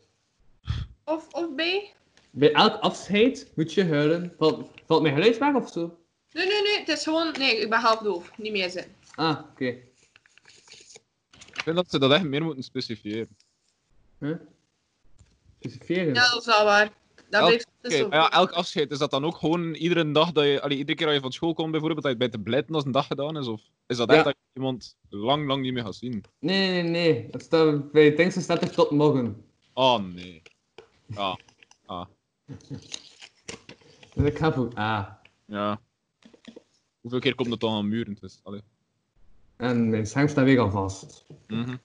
[SPEAKER 4] Of, of B? Nee,
[SPEAKER 3] Bij elk afscheid moet je huilen. Valt, valt mijn geluid weg of zo?
[SPEAKER 4] nee, nee. Het is gewoon... Nee, ik ben half doof. Niet meer zin.
[SPEAKER 3] Ah, oké.
[SPEAKER 5] Ik vind dat ze dat echt meer moeten specifieren.
[SPEAKER 3] Huh? Specificeren?
[SPEAKER 4] Ja, dat is wel waar. Dat
[SPEAKER 5] Elk-
[SPEAKER 4] blijft
[SPEAKER 5] Oké,
[SPEAKER 4] dus zo.
[SPEAKER 5] ja, elk afscheid, is dat dan ook gewoon iedere dag dat je, allee, iedere keer dat je van school komt bijvoorbeeld, dat je bij te blijten als een dag gedaan is? Of is dat echt
[SPEAKER 3] Ja.
[SPEAKER 5] dat je iemand lang, lang niet meer gaat zien?
[SPEAKER 3] Nee, nee, nee. Het staat, bij Tanks staat er tot morgen.
[SPEAKER 5] Oh nee. Ja. Ah.
[SPEAKER 3] Dus ik ga voor A.
[SPEAKER 5] Ja. Hoeveel keer komt het dan aan muren? Dus, allee.
[SPEAKER 3] En mijn scherm staat weer al vast.
[SPEAKER 5] Mhm.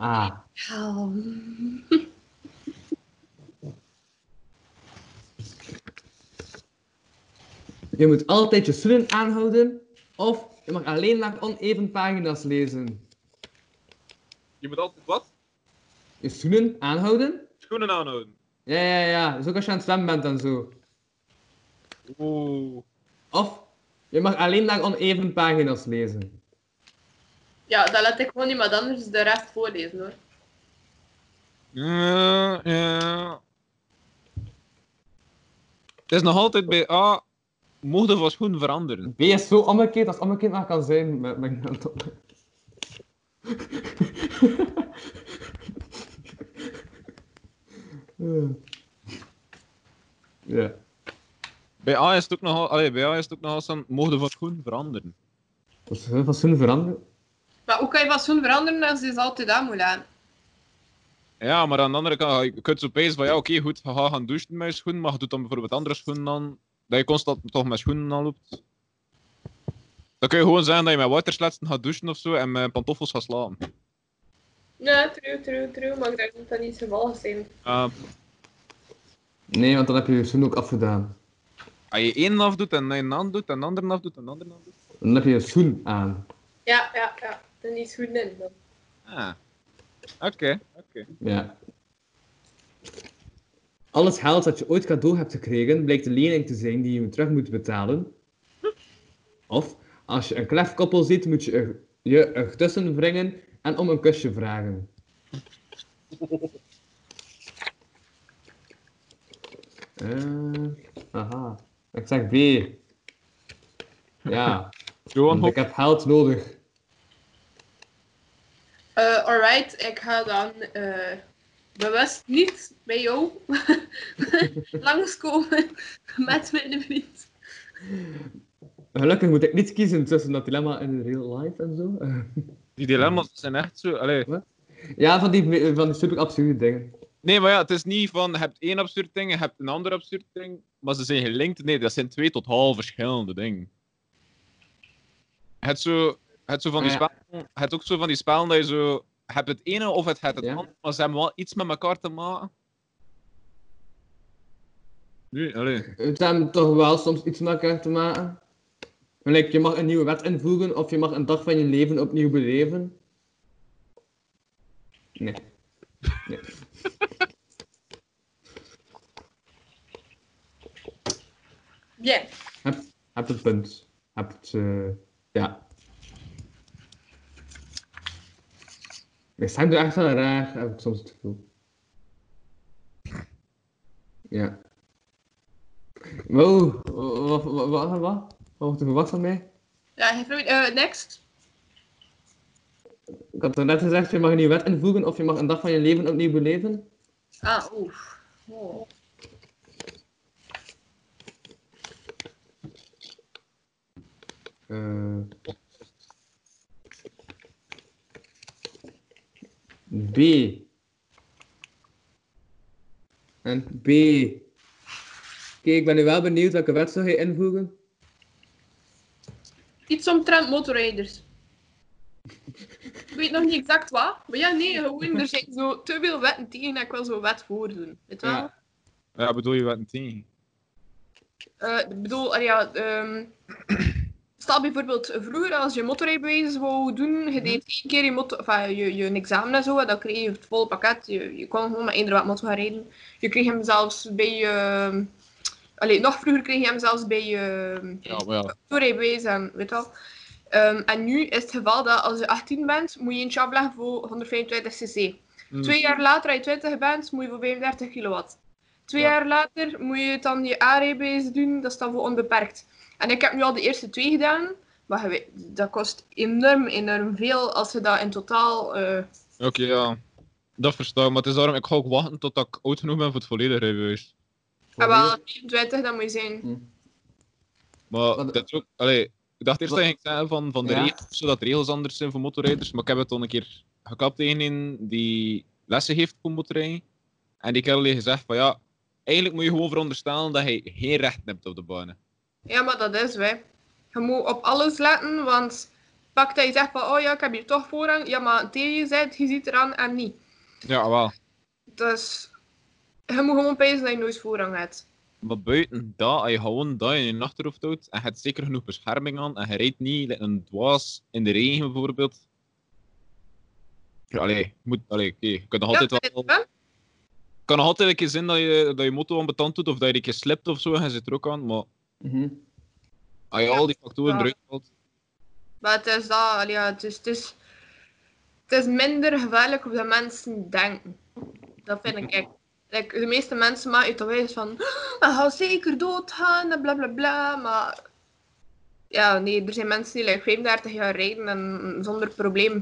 [SPEAKER 3] A.
[SPEAKER 4] Ja.
[SPEAKER 3] Je moet altijd je student aanhouden. Of je mag alleen maar oneven pagina's lezen.
[SPEAKER 5] Je moet altijd wat?
[SPEAKER 3] Je student aanhouden?
[SPEAKER 5] Schoenen aanhouden.
[SPEAKER 3] Ja, ja, ja. Dus ook als je aan het zwemmen bent en zo.
[SPEAKER 5] Oeh.
[SPEAKER 3] Of je mag alleen maar oneven pagina's lezen.
[SPEAKER 4] ja, dat laat ik gewoon iemand anders de rest voorlezen, hoor.
[SPEAKER 5] Ja, ja. Het is nog altijd bij A. Mogen van schoen veranderen?
[SPEAKER 3] B is zo omgekeerd als omgekeerd maar kan zijn. Met, met, ja.
[SPEAKER 5] Bij A is het ook nogal. Allee, bij A is het ook nogal staan. Mogen van schoen veranderen?
[SPEAKER 3] Wat is van zo'n veranderen?
[SPEAKER 4] Maar hoe kan je van zo'n veranderen als je ze altijd aan moet laten?
[SPEAKER 5] Ja, maar aan de andere kant, je kunt zo opeens van ja, oké, goed, je gaat gaan douchen met je schoenen, maar je doet dan bijvoorbeeld andere schoenen aan, dat je constant toch met schoenen aan loopt. Dan kun je gewoon zeggen dat je met watersletsen gaat douchen of zo en met pantoffels gaat slaan.
[SPEAKER 4] Nee, true, true, true. Maar ik denk dat dat niet zo vallig zijn.
[SPEAKER 5] Eh,
[SPEAKER 3] Nee, want dan heb je je schoen ook afgedaan.
[SPEAKER 5] als je één afdoet en een afdoet en een ander afdoet en een ander afdoet.
[SPEAKER 3] Dan heb je je schoen aan.
[SPEAKER 4] Ja, ja, ja. Dat is niet goed in. Dan.
[SPEAKER 5] Ah. Oké, oké.
[SPEAKER 3] Ja. Al het geld dat je ooit cadeau hebt gekregen, blijkt de lening te zijn die je terug moet betalen. Of, als je een klefkoppel ziet, moet je er, je er tussen wringen en om een kusje vragen. Eh, aha. Ik zeg B. Ja,
[SPEAKER 5] Johan,
[SPEAKER 3] want ik
[SPEAKER 5] hop.
[SPEAKER 3] heb geld nodig.
[SPEAKER 4] Eh, alright, ik ga dan eh, bewust niet bij jou langskomen met mijn vriend.
[SPEAKER 3] Gelukkig moet ik niet kiezen tussen dat dilemma in real life en zo. Eh.
[SPEAKER 5] Die dilemma's zijn echt zo. Allee.
[SPEAKER 3] Ja, van die, van die super absurde dingen.
[SPEAKER 5] Nee, maar ja, het is niet van je hebt één absurd ding en je hebt een ander absurd ding, maar ze zijn gelinkt. Nee, dat zijn twee totaal verschillende dingen. Het zo, het zo van die
[SPEAKER 3] Ah, ja.
[SPEAKER 5] spellen, het ook zo van die spellen dat je zo, je hebt het ene of het, het, het
[SPEAKER 3] Ja.
[SPEAKER 5] andere, maar ze hebben wel iets met elkaar te maken. Nee, alleen.
[SPEAKER 3] Het heeft toch wel soms iets met elkaar te maken. Gelijk, je mag een nieuwe wet invoegen of je mag een dag van je leven opnieuw beleven. Nee. nee.
[SPEAKER 4] Ja.
[SPEAKER 3] Heb, heb het punt. Heb het, eh, ja. Mijn stem doet echt wel raar, heb ik soms het gevoel. Ja. Wow, wat, wat, wat, wat, wat wordt er verwacht van mij?
[SPEAKER 4] Ja, heeft er- eh, next.
[SPEAKER 3] Ik had er net gezegd, je mag een nieuwe wet invoegen of je mag een dag van je leven opnieuw beleven.
[SPEAKER 4] Ah, oef. Oh.
[SPEAKER 3] Eh. B. En B. Kijk, ik ben nu wel benieuwd welke wet zou je invoegen.
[SPEAKER 4] Iets omtrent motorrijders. Ik weet nog niet exact wat. Maar ja, nee, gewoon, er zijn zo te veel wetten tegen dat ik wel zo'n wet voor doen. Weet je wel?
[SPEAKER 3] Ja.
[SPEAKER 5] Ja, bedoel je wat een tien?
[SPEAKER 4] Eh, ik bedoel, allee, ja, ehm, stel bijvoorbeeld vroeger als je motorrijbewijs wou doen, je deed één keer je, motor, enfin, je, je een examen en zo, en dan kreeg je het volle pakket. Je, je kon gewoon maar één wat motor gaan rijden. Je kreeg hem zelfs bij je... allee, nog vroeger kreeg je hem zelfs bij ehm, je
[SPEAKER 5] Ja, maar ja.
[SPEAKER 4] motorrijbewijs en weet je wel. Ehm, en nu is het geval dat als je 18 bent, moet je een job leggen voor 125 cc.
[SPEAKER 5] Hm.
[SPEAKER 4] Twee jaar later, als je 20 bent, moet je voor 35 kilowatt. Twee
[SPEAKER 5] Ja.
[SPEAKER 4] jaar later moet je dan je ARB's doen, dat is dan voor onbeperkt. En ik heb nu al de eerste twee gedaan, maar je weet, dat kost enorm, enorm veel als je dat in totaal. eh,
[SPEAKER 5] Oké, ja. Dat verstaan, maar het is daarom, ik ga ook wachten tot ik oud genoeg ben voor het volledige rijbewijs.
[SPEAKER 4] en Ah, wel 24, dan moet je zijn.
[SPEAKER 5] Maar
[SPEAKER 3] Wat-
[SPEAKER 5] dat is ook, allee, ik dacht eerst
[SPEAKER 3] Wat-
[SPEAKER 5] dat je ging zeggen van, van de
[SPEAKER 3] Ja.
[SPEAKER 5] regels, zodat de regels anders zijn voor motorrijders, maar ik heb het toen een keer gekapt tegen een die lessen heeft voor motorrijden. En die kerel heeft gezegd van ja, eigenlijk moet je gewoon veronderstellen dat hij geen recht hebt op de banen.
[SPEAKER 4] Ja, maar dat is wij. Je moet op alles letten, want pak dat je zegt van oh ja, ik heb hier toch voorrang. Ja, maar tegen je zet, je ziet eraan en niet.
[SPEAKER 5] Ja, wel.
[SPEAKER 4] Dus je moet gewoon pezen dat je nooit voorrang hebt.
[SPEAKER 5] Maar buiten dat, als je gewoon dat in je achterhoofd houdt en je hebt zeker genoeg bescherming aan en je rijdt niet like een dwaas in de regen bijvoorbeeld. Ja, Allee, je moet, allee, oké, je kunt nog
[SPEAKER 4] Ja,
[SPEAKER 5] altijd wel...
[SPEAKER 4] weet je wel?
[SPEAKER 5] Het kan nog altijd een keer zijn dat je, dat je motor onbetand doet of dat je een keer slipt of zo en je zit er ook aan, maar
[SPEAKER 3] Mhm.
[SPEAKER 5] als je al die factoren
[SPEAKER 4] Ja.
[SPEAKER 5] eruit haalt...
[SPEAKER 4] Maar het is dat, allee, ja, het is, het is, het is minder gevaarlijk dan mensen denken. Dat vind ik echt. Like, de meeste mensen maken je toch wijs van, "Ah, hij gaat zeker doodgaan en bla bla bla, maar... Ja, nee, er zijn mensen die like, 35 jaar rijden en zonder probleem.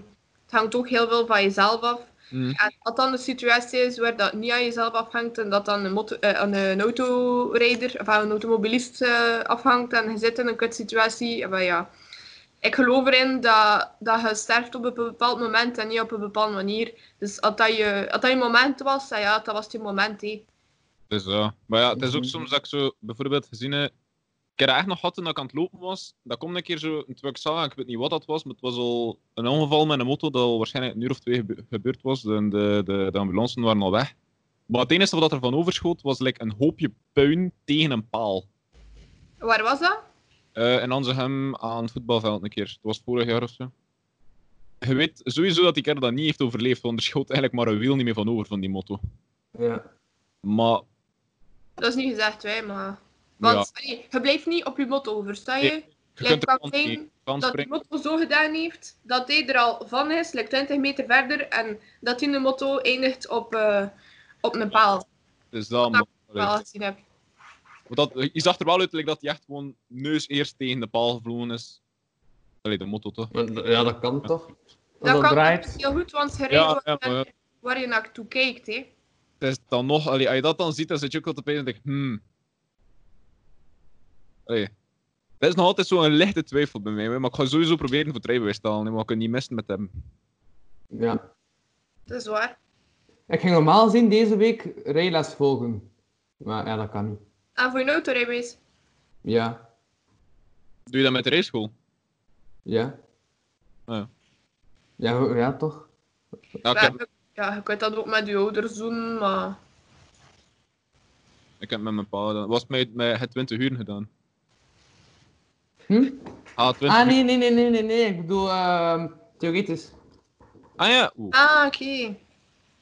[SPEAKER 4] Het hangt ook heel veel van jezelf af.
[SPEAKER 5] Mm.
[SPEAKER 4] En als dan de situatie is waar dat niet aan jezelf afhangt en dat dan een, moto, eh, aan een autorijder of aan een automobilist eh, afhangt en je zit in een kutsituatie, eh, maar ja. Ik geloof erin dat, dat je sterft op een bepaald moment en niet op een bepaalde manier. Dus als dat je, als dat je moment was, dan ja, dat was je moment. Hé.
[SPEAKER 5] Dus ja. Maar ja, het is ook
[SPEAKER 3] Mhm.
[SPEAKER 5] soms dat ik zo bijvoorbeeld gezien heb. Ik heb dat echt nog gehad toen ik aan het lopen was. Dat komt een keer zo, toen ik zag, ik weet niet wat dat was, maar het was al een ongeval met een motor dat al waarschijnlijk een uur of twee gebe- gebeurd was. De, de, de, de ambulances waren al weg. Maar het enige wat er van overschoot was like, een hoopje puin tegen een paal.
[SPEAKER 4] Waar was dat?
[SPEAKER 5] Eh in Anzegem aan het voetbalveld een keer. Het was vorig jaar of zo. Je weet sowieso dat die kerel dat niet heeft overleefd, want er schoot eigenlijk maar een wiel niet meer van over van die motor.
[SPEAKER 3] Ja.
[SPEAKER 5] Maar
[SPEAKER 4] Dat is niet gezegd, wij, maar...
[SPEAKER 5] ja,
[SPEAKER 4] Want allee, je blijft niet op je motto, versta je?
[SPEAKER 5] Nee, je
[SPEAKER 4] like,
[SPEAKER 5] kunt
[SPEAKER 4] kan
[SPEAKER 5] er kant
[SPEAKER 4] zijn
[SPEAKER 5] springen. Kan
[SPEAKER 4] dat die
[SPEAKER 5] springen.
[SPEAKER 4] motto zo gedaan heeft dat hij er al van is, like 20 meter verder, en dat die de motto eindigt op, eh, op een paal.
[SPEAKER 5] Dus dat,
[SPEAKER 4] dat-
[SPEAKER 5] maar-
[SPEAKER 4] Wel gezien heb.
[SPEAKER 5] Want dat, je zag er wel uit like, dat hij echt gewoon neus eerst tegen de paal gevlogen is. Allee, de motto toch?
[SPEAKER 3] Maar d- ja, dat kan toch? Als
[SPEAKER 4] Dat kan
[SPEAKER 3] draait.
[SPEAKER 4] heel goed, want je
[SPEAKER 5] Ja,
[SPEAKER 4] rijdt
[SPEAKER 5] ja, maar
[SPEAKER 4] waar, waar je naartoe kijkt. Hè.
[SPEAKER 5] het is dan nog, allee, als je dat dan ziet, dan zit je ook wel te pijn en denk je, hmm. Allee. Dat is nog altijd zo'n lichte twijfel bij mij, maar ik ga sowieso proberen voor het rijbewijs te halen, hè, want ik kan niet missen met hem.
[SPEAKER 3] Ja.
[SPEAKER 4] Dat is waar.
[SPEAKER 3] Ik ging normaal gezien deze week rijles volgen. Maar ja, dat kan niet.
[SPEAKER 4] En voor je autorijbewijs.
[SPEAKER 3] Ja,
[SPEAKER 5] Doe je dat met de rijschool?
[SPEAKER 3] ja.
[SPEAKER 5] Ja.
[SPEAKER 3] Ja, ho- ja toch?
[SPEAKER 5] Ja, ik,
[SPEAKER 4] Ja,
[SPEAKER 5] heb,
[SPEAKER 4] je- ja, je kunt dat ook met je ouders doen, maar...
[SPEAKER 5] ik heb met mijn pa gedaan. Was het met, met het 20 uur gedaan?
[SPEAKER 3] Hm?
[SPEAKER 5] Ah, 20
[SPEAKER 3] Ah, nee,
[SPEAKER 5] uur.
[SPEAKER 3] nee, nee, nee, nee, nee. Ik bedoel, ehm, theoretisch.
[SPEAKER 5] Ah ja, Oeh,
[SPEAKER 4] Ah, oké.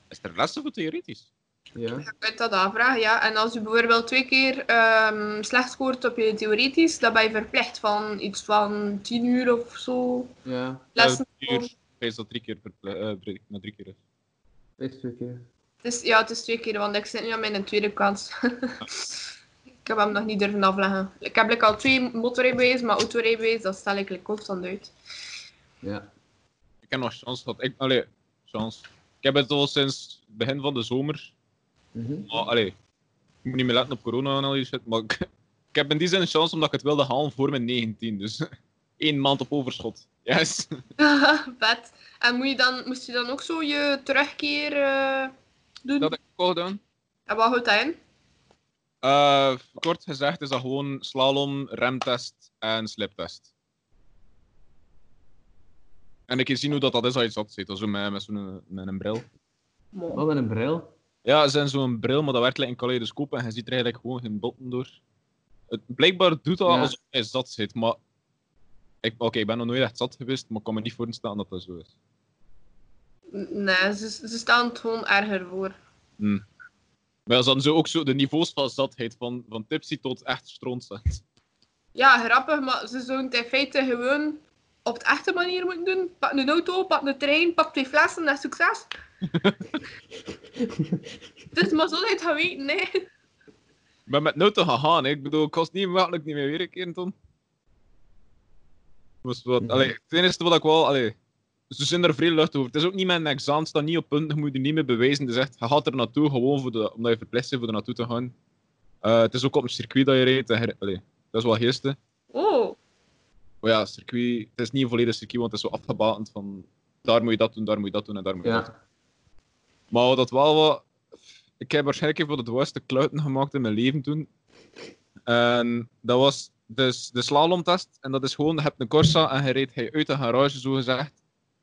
[SPEAKER 5] is er lessen voor theoretisch?
[SPEAKER 3] Ja.
[SPEAKER 4] Je kunt dat aanvragen, ja. En als je bijvoorbeeld twee keer ehm, slecht scoort op je theoretisch, dan ben je verplicht van iets van 10 uur of zo.
[SPEAKER 3] Ja,
[SPEAKER 4] Lessen.
[SPEAKER 5] Eh, drie uur. Hij dat drie keer per ple- eh, drie- na drie keer. is.
[SPEAKER 3] echt twee keer.
[SPEAKER 4] Dus, ja, het is twee keer, want ik zit nu aan mijn tweede kans. ik heb hem nog niet durven afleggen. Ik heb like, al twee motorrijbewijs, maar autorijbewijs, dat stel ik like, constant uit.
[SPEAKER 3] Ja.
[SPEAKER 5] Ik heb nog chance gehad. Ik, allee, chance. Ik heb het al sinds begin van de zomer.
[SPEAKER 3] Mhm.
[SPEAKER 5] Maar allee, ik moet niet meer letten op corona en al die shit. Maar ik, ik heb in die zin een chance omdat ik het wilde halen voor mijn 19. Dus één maand op overschot. Yes.
[SPEAKER 4] Vet. En moet je dan, moest je dan ook zo je terugkeer eh, doen?
[SPEAKER 5] Dat heb ik ook al gedaan.
[SPEAKER 4] En wat houdt dat in?
[SPEAKER 5] Eh, kort gezegd is dat gewoon slalom, remtest en sliptest. En ik kan zien hoe dat, dat is als je zat zit, zo met, met zo'n met een bril.
[SPEAKER 3] Wat Oh, met een bril.
[SPEAKER 5] Ja, ze zijn zo'n bril, maar dat werkt like een kaleidoscoop en je ziet er eigenlijk gewoon geen botten door. Het, blijkbaar doet dat
[SPEAKER 3] Ja.
[SPEAKER 5] alsof hij zat zit, maar... ik- Oké, ik ben nog nooit echt zat geweest, maar ik kan me niet voorstellen dat dat zo is.
[SPEAKER 4] N- Nee, ze, ze staan het gewoon erger voor.
[SPEAKER 5] Maar dat is dan zo ook zo de niveaus van zatheid, van, van tipsy tot echt strontzat.
[SPEAKER 4] Ja, grappig, maar ze zouden het in feite gewoon op de echte manier moeten doen. Pak een auto, pak een trein, pak twee flessen en succes. Dit maar zo dat gaan weten, nee.
[SPEAKER 5] Ik ben met noten gegaan, hè. ik bedoel, ik was niet makkelijk niet meer weer een keer, Tom. Was wat,
[SPEAKER 3] Mhm.
[SPEAKER 5] allee, het enige wat ik wel... Allee, ze zijn er veel lucht over. Het is ook niet met een examen, staat niet op punt, je moet je niet meer bewijzen. Dus echt, je gaat er naartoe, gewoon voor de, omdat je verplicht bent voor er naartoe te gaan. Eh, het is ook op een circuit dat je rijdt. en je- allee, dat is wel geesten.
[SPEAKER 4] Oh,
[SPEAKER 5] Maar ja, circuit, het is niet een volledig circuit, want het is zo afgebakend van... Daar moet je dat doen, daar moet je dat doen en daar moet je dat
[SPEAKER 3] Ja.
[SPEAKER 5] maar dat wel wat. Ik heb waarschijnlijk voor de duurste kluiten gemaakt in mijn leven toen. En dat was dus de slalomtest. En dat is gewoon: je hebt een Corsa en je rijdt hij uit de garage, zo gezegd.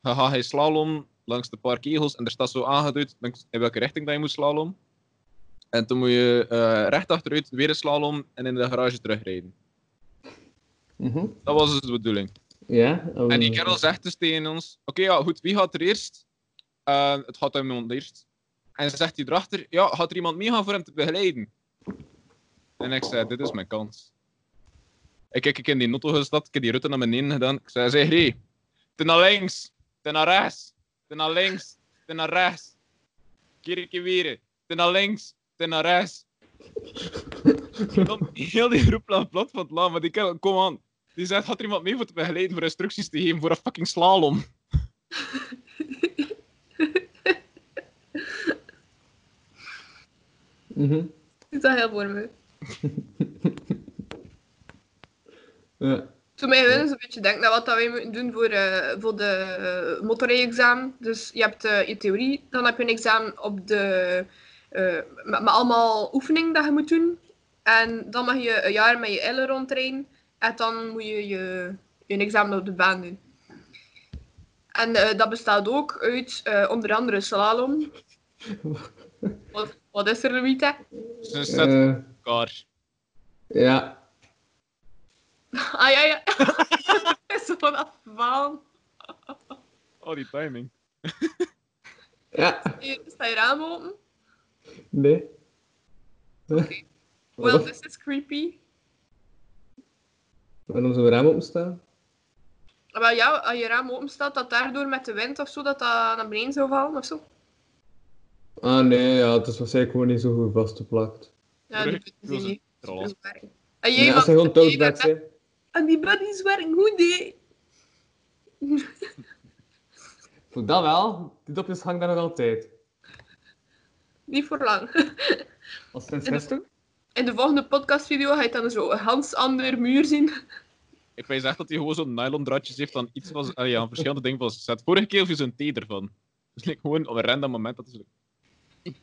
[SPEAKER 5] Je gaat hij slalom langs de paar kegels en er staat zo aangeduid langs in welke richting dat je moet slalom. En toen moet je eh, recht achteruit weer een slalom en in de garage terugrijden.
[SPEAKER 3] Mhm.
[SPEAKER 5] Dat was dus de bedoeling.
[SPEAKER 3] Ja. oh.
[SPEAKER 5] En die kerel zegt dus tegen ons: Oké, ja, goed, wie gaat er eerst? Eh, het gaat om iemand eerst. En ze zegt hij erachter: Ja, gaat er iemand meegaan voor hem te begeleiden? En ik zei: Dit is mijn kans. Ik kijk ik in die notto gestapt, ik heb die route naar beneden gedaan. Ik zei: Zeg, hé, ten naar links, ten naar rechts, ten naar links, ten naar rechts. Keer een keer weer, ten naar links, ten naar rechts. Dan heel die groep lag plat van het laan, maar die kerel, kom aan. Die zegt, had er iemand mee voor te begeleiden, voor instructies te geven, voor een fucking slalom.
[SPEAKER 3] Mhm.
[SPEAKER 4] is dat heel voor me.
[SPEAKER 3] Ja.
[SPEAKER 4] Toen mij wel eens een beetje denken naar wat dat wij moeten doen voor, eh, voor de eh, motorrijexamen. Dus je hebt eh, je theorie, dan heb je een examen op de, eh, met, met allemaal oefeningen dat je moet doen. En dan mag je een jaar met je aileron trainen. En dan moet je je, je examen op de baan doen. En eh, dat bestaat ook uit eh, onder andere slalom. wat, wat is er, Louita?
[SPEAKER 5] Ze zetten
[SPEAKER 3] Eh,
[SPEAKER 5] elkaar.
[SPEAKER 3] ja.
[SPEAKER 4] Ah ja, ja. Zo van ah, afvallen.
[SPEAKER 5] Oh, die timing.
[SPEAKER 3] Ja.
[SPEAKER 4] Hier, Sta je raam open?
[SPEAKER 3] Nee.
[SPEAKER 4] Well,
[SPEAKER 3] Waarom-
[SPEAKER 5] dus-
[SPEAKER 4] this dus is creepy.
[SPEAKER 3] Waarom zou raam openstaan?
[SPEAKER 4] Ah, Wel ja, als je raam open staat, dat daardoor met de wind of zo, dat dat naar beneden zou vallen of zo.
[SPEAKER 3] Ah nee, ja, het is waarschijnlijk gewoon niet zo goed vastgeplakt.
[SPEAKER 4] Ja,
[SPEAKER 5] Brug-
[SPEAKER 4] die buddies
[SPEAKER 5] Roze-
[SPEAKER 4] niet.
[SPEAKER 5] Tralala.
[SPEAKER 4] Dus werken. En jij
[SPEAKER 3] Nee,
[SPEAKER 4] was-
[SPEAKER 3] dat zijn gewoon
[SPEAKER 4] jij
[SPEAKER 3] touchbacks,
[SPEAKER 4] werd-
[SPEAKER 3] hè.
[SPEAKER 4] En die buddies werken goed, hè?
[SPEAKER 3] Voor dat wel, die dopjes hangen daar nog altijd.
[SPEAKER 4] Niet voor lang.
[SPEAKER 3] Als sinds gisteren?
[SPEAKER 4] In de volgende podcastvideo ga je dan zo een hans ander muur zien.
[SPEAKER 5] Ik weet echt dat hij gewoon zo'n nylon draadjes heeft aan iets van, allee, aan verschillende dingen van set. Vorige keer viel zo'n thee ervan. Dus like, gewoon op een random moment. Dat is like,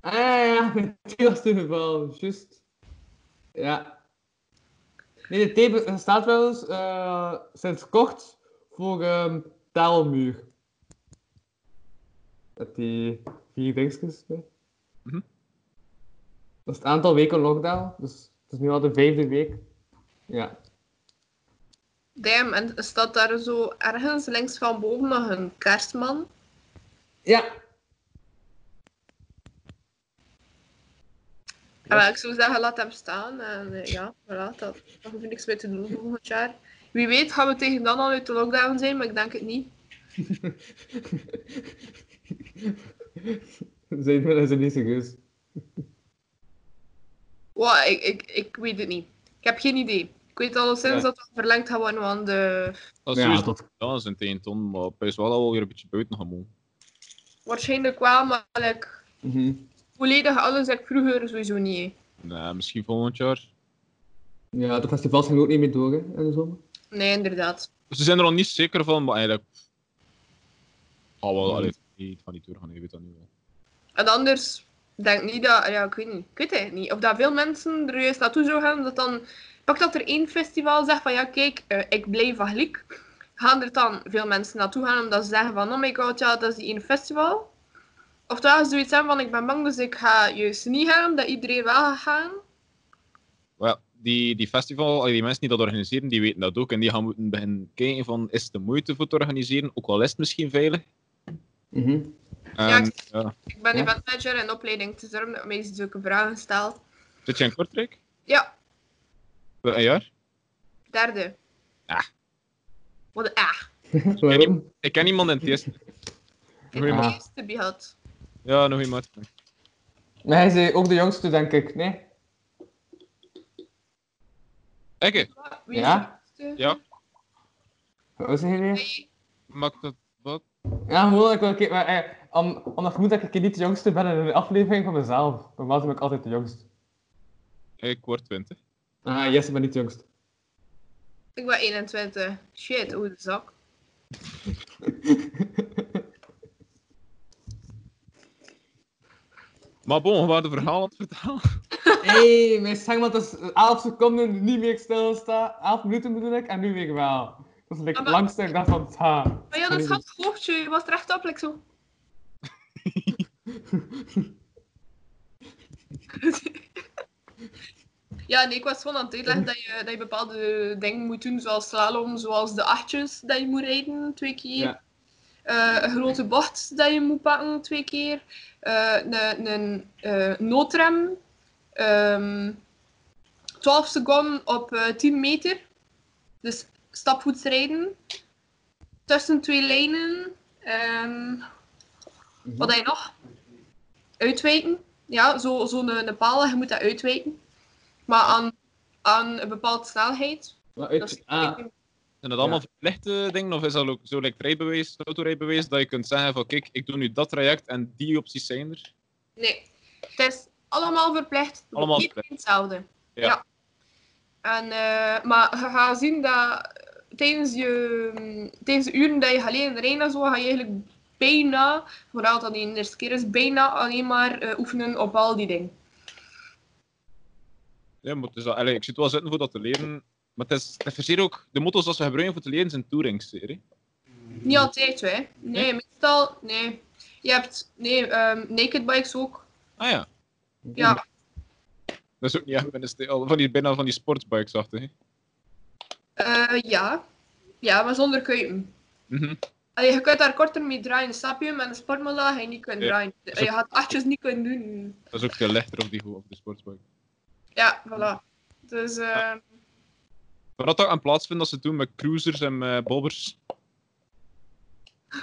[SPEAKER 3] Ah ja, ja, met die was het geval, juist. Ja. Nee, de tape staat wel eens eh, sinds kort voor ehm taalmuur. Met die vier dingetjes. hè.
[SPEAKER 5] Mhm.
[SPEAKER 3] Dat is het aantal weken lockdown, dus het is nu al de vijfde week. Ja.
[SPEAKER 4] Damn, en staat daar zo ergens links van boven nog een kerstman?
[SPEAKER 3] Ja,
[SPEAKER 4] Ah, wel, ik zou zeggen, laat hem staan. En eh, ja, voilà, dat, daar hoef je niks mee te doen volgend jaar. Wie weet gaan we tegen dan al uit de lockdown zijn, maar ik denk het niet.
[SPEAKER 3] Zijn we zijn niet serieus.
[SPEAKER 4] Wow, ik, ik, ik weet het niet. Ik heb geen idee. Ik weet al sinds
[SPEAKER 5] Ja.
[SPEAKER 4] dat dat verlengd gaat worden, want eh, de...
[SPEAKER 5] Dat is
[SPEAKER 3] Ja,
[SPEAKER 5] sowieso
[SPEAKER 3] tot
[SPEAKER 5] gedaan, zijn 10 ton, maar het is wel alweer een beetje buiten gaan mogen.
[SPEAKER 4] waarschijnlijk wel, maar like,
[SPEAKER 3] Mhm.
[SPEAKER 4] volledig alles heb ik vroeger sowieso niet. hè.
[SPEAKER 5] Nee, misschien volgend jaar.
[SPEAKER 3] Ja, de festivals gaan ook niet meer door hè, in de zomer.
[SPEAKER 4] Nee, inderdaad.
[SPEAKER 5] Dus Ze zijn er nog niet zeker van, maar eigenlijk. Gaan we
[SPEAKER 3] Ja.
[SPEAKER 5] wel niet van die tour gaan, je weet dat nu wel.
[SPEAKER 4] En anders denk ik niet dat, ja, ik weet niet, ik weet het eigenlijk niet. Of dat veel mensen er juist naartoe zouden gaan, dat dan, pak dat er één festival zegt van ja, kijk, eh, ik blijf van Gliek. Gaan er dan veel mensen naartoe gaan omdat ze zeggen van oh my god, ja, dat is die één festival. Of dat ze zoiets hebben van ik ben bang, dus ik ga juist niet gaan, dat iedereen wel gaat gaan.
[SPEAKER 5] Maar ja, die, die festival, allee, die mensen die dat organiseren, die weten dat ook. En die gaan moeten beginnen kijken van, is het de moeite voor te organiseren? Ook al is het misschien veilig.
[SPEAKER 3] Mhm.
[SPEAKER 5] En,
[SPEAKER 4] Ja,
[SPEAKER 5] ja,
[SPEAKER 4] ik- Ik ben
[SPEAKER 3] Ja.
[SPEAKER 4] eventmanager in opleiding, dus daarom dat ik mij zulke vragen stel.
[SPEAKER 5] Zit je in Kortrijk? Eh,
[SPEAKER 4] Ja,
[SPEAKER 5] Een jaar?
[SPEAKER 4] derde.
[SPEAKER 5] Ah.
[SPEAKER 4] Wat een ah.
[SPEAKER 3] Waarom?
[SPEAKER 5] Ik ken iemand in het eerste.
[SPEAKER 4] Ik
[SPEAKER 5] Goeie
[SPEAKER 4] heb
[SPEAKER 3] man.
[SPEAKER 4] het eerste gehad.
[SPEAKER 5] Ja, nog iemand.
[SPEAKER 3] Maar hij is eh, ook de jongste, denk ik. Nee?
[SPEAKER 5] Ekke,
[SPEAKER 4] Wie is
[SPEAKER 3] Ja?
[SPEAKER 4] de eerste?
[SPEAKER 5] Ja.
[SPEAKER 3] Wat zeg je weer?
[SPEAKER 4] Nee,
[SPEAKER 5] maakt dat wat?
[SPEAKER 3] Ja, gewoon, ik wil een keer, maar, eh, om, omdat ik moet dat ik niet de jongste ben in een aflevering van mezelf. Normaal ben ik altijd de jongst.
[SPEAKER 5] Ik word 20.
[SPEAKER 3] Ah, Jesse, maar niet de jongst.
[SPEAKER 4] ik ben 21. Shit, hoe de zak.
[SPEAKER 5] Maar bon, we waren het verhaal aan het vertellen.
[SPEAKER 3] Hé, hey, mijn zangmat is 11 seconden niet meer stilstaan. 11 minuten bedoel ik, en nu weer wel. Dat is like,
[SPEAKER 4] Ah,
[SPEAKER 3] het
[SPEAKER 4] maar-
[SPEAKER 3] langste ik dacht van, ha.
[SPEAKER 4] Maar ja, dat schattig hoofdje, je was rechtop, like zo. ja, nee, ik was gewoon aan het uitleggen dat je, dat je bepaalde dingen moet doen, zoals slalom, zoals de achtjes dat je moet rijden twee keer.
[SPEAKER 3] Ja.
[SPEAKER 4] Eh, een grote bocht dat je moet pakken twee keer. Eh, een een eh, noodrem. Ehm 12 seconden op eh, 10 meter. Dus stapvoets rijden. Tussen twee lijnen. Ehm, Wat heb je nog? Uitwijken. Ja, zo'n zo een, een paal, je moet dat uitwijken. Maar aan, aan een bepaalde snelheid.
[SPEAKER 3] Wat
[SPEAKER 4] Dat is-
[SPEAKER 3] uit? Ah,
[SPEAKER 5] Zijn dat allemaal verplichte dingen? Of is dat ook zo like, rijbewijs, autorijbewijs, dat je kunt zeggen van kijk, ik doe nu dat traject en die opties zijn er?
[SPEAKER 4] Nee, het is allemaal verplicht. voor
[SPEAKER 5] Allemaal
[SPEAKER 4] iedereen hetzelfde.
[SPEAKER 5] Ja.
[SPEAKER 4] En, eh, maar je gaat zien dat tijdens, je, tijdens de uren dat je alleen rijdt en zo, ga je eigenlijk bijna, vooral dat die eerste keer is, bijna alleen maar eh, oefenen op al die dingen.
[SPEAKER 5] Ja, maar het is, al- allee, ik zit wel zitten voor dat te leren. Maar het is, het is verzeer ook, de motto's die ze gebruiken voor te leren zijn touring-serie.
[SPEAKER 4] Niet altijd, hè. Nee, meestal, nee. Je hebt, nee, ehm, naked bikes ook.
[SPEAKER 5] Ah ja,
[SPEAKER 4] Ja,
[SPEAKER 5] dat is ook niet echt binnen stijl. Van die, bijna van die sportsbikes achter. hè.
[SPEAKER 4] eh, ja. Ja, maar zonder kuiten.
[SPEAKER 5] Mhm.
[SPEAKER 4] Allee, je kunt daar korter mee draaien, snap je? Met een sportmodel ga je niet kunnen
[SPEAKER 5] Ja.
[SPEAKER 4] draaien.
[SPEAKER 5] is ook-
[SPEAKER 4] Je gaat achtjes niet kunnen doen.
[SPEAKER 5] Dat is ook veel lichter op die, op de sportsbike.
[SPEAKER 4] Ja, voilà. Dus
[SPEAKER 5] Ah,
[SPEAKER 4] eh,
[SPEAKER 5] Maar dat ook aan plaatsvindt dat ze het doen met cruisers en met bobbers.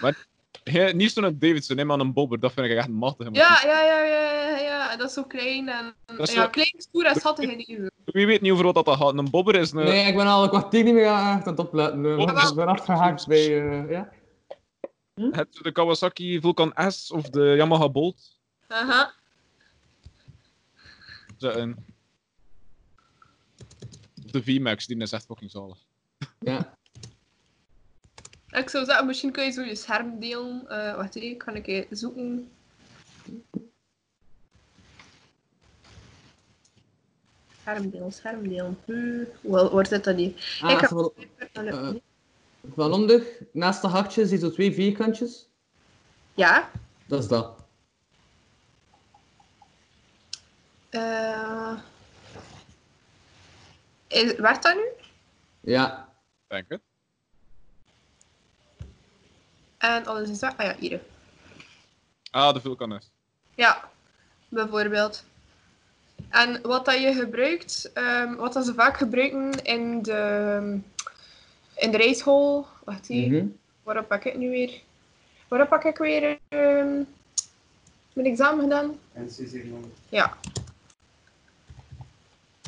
[SPEAKER 5] Maar he, niet zo'n Davidson, nee, maar een bobber. Dat vind ik echt machtig. man.
[SPEAKER 4] ja, ja, ja, ja, ja, ja, en dat is zo klein. En,
[SPEAKER 5] Dat is
[SPEAKER 4] ja,
[SPEAKER 5] zo-
[SPEAKER 4] klein, stoer en schattig in ieder geval.
[SPEAKER 5] Wie weet niet over wat dat gaat. Een bobber is een...
[SPEAKER 3] nee, ik ben al een kwartier niet meer aan aan het opletten. eh, want Ik ben afgehaakt bij, eh, ja.
[SPEAKER 5] Het, de Kawasaki Vulcan S of de Yamaha Bolt.
[SPEAKER 4] Aha.
[SPEAKER 5] Zo een- Of de VMAX, die is echt fucking zalig.
[SPEAKER 3] ja.
[SPEAKER 4] Ik zou zeggen, misschien kun je zo je scherm delen. Eh wacht even, kan ik even zoeken. Schermdeel, schermdeel. Hm, Wel, waar zit dat hier?
[SPEAKER 3] Ah,
[SPEAKER 4] ik
[SPEAKER 3] is
[SPEAKER 4] heb
[SPEAKER 3] wel-
[SPEAKER 4] Allee,
[SPEAKER 3] eh. Van onder, naast de hartjes, zie je zo twee vierkantjes.
[SPEAKER 4] Ja?
[SPEAKER 3] Dat is dat.
[SPEAKER 4] Eh is, werd dat nu?
[SPEAKER 3] Ja.
[SPEAKER 5] Denk ik.
[SPEAKER 4] En alles is weg. Ah ja, hier.
[SPEAKER 5] Ah, de Vulcan S.
[SPEAKER 4] Ja, bijvoorbeeld. En wat dat je gebruikt, ehm, wat dat ze vaak gebruiken in de, in de rijschool. Wacht even,
[SPEAKER 3] Mhm.
[SPEAKER 4] waarop pak ik nu weer? Waarop pak ik weer ehm, mijn examen gedaan?
[SPEAKER 6] En ze zeggen dan,
[SPEAKER 4] Ja.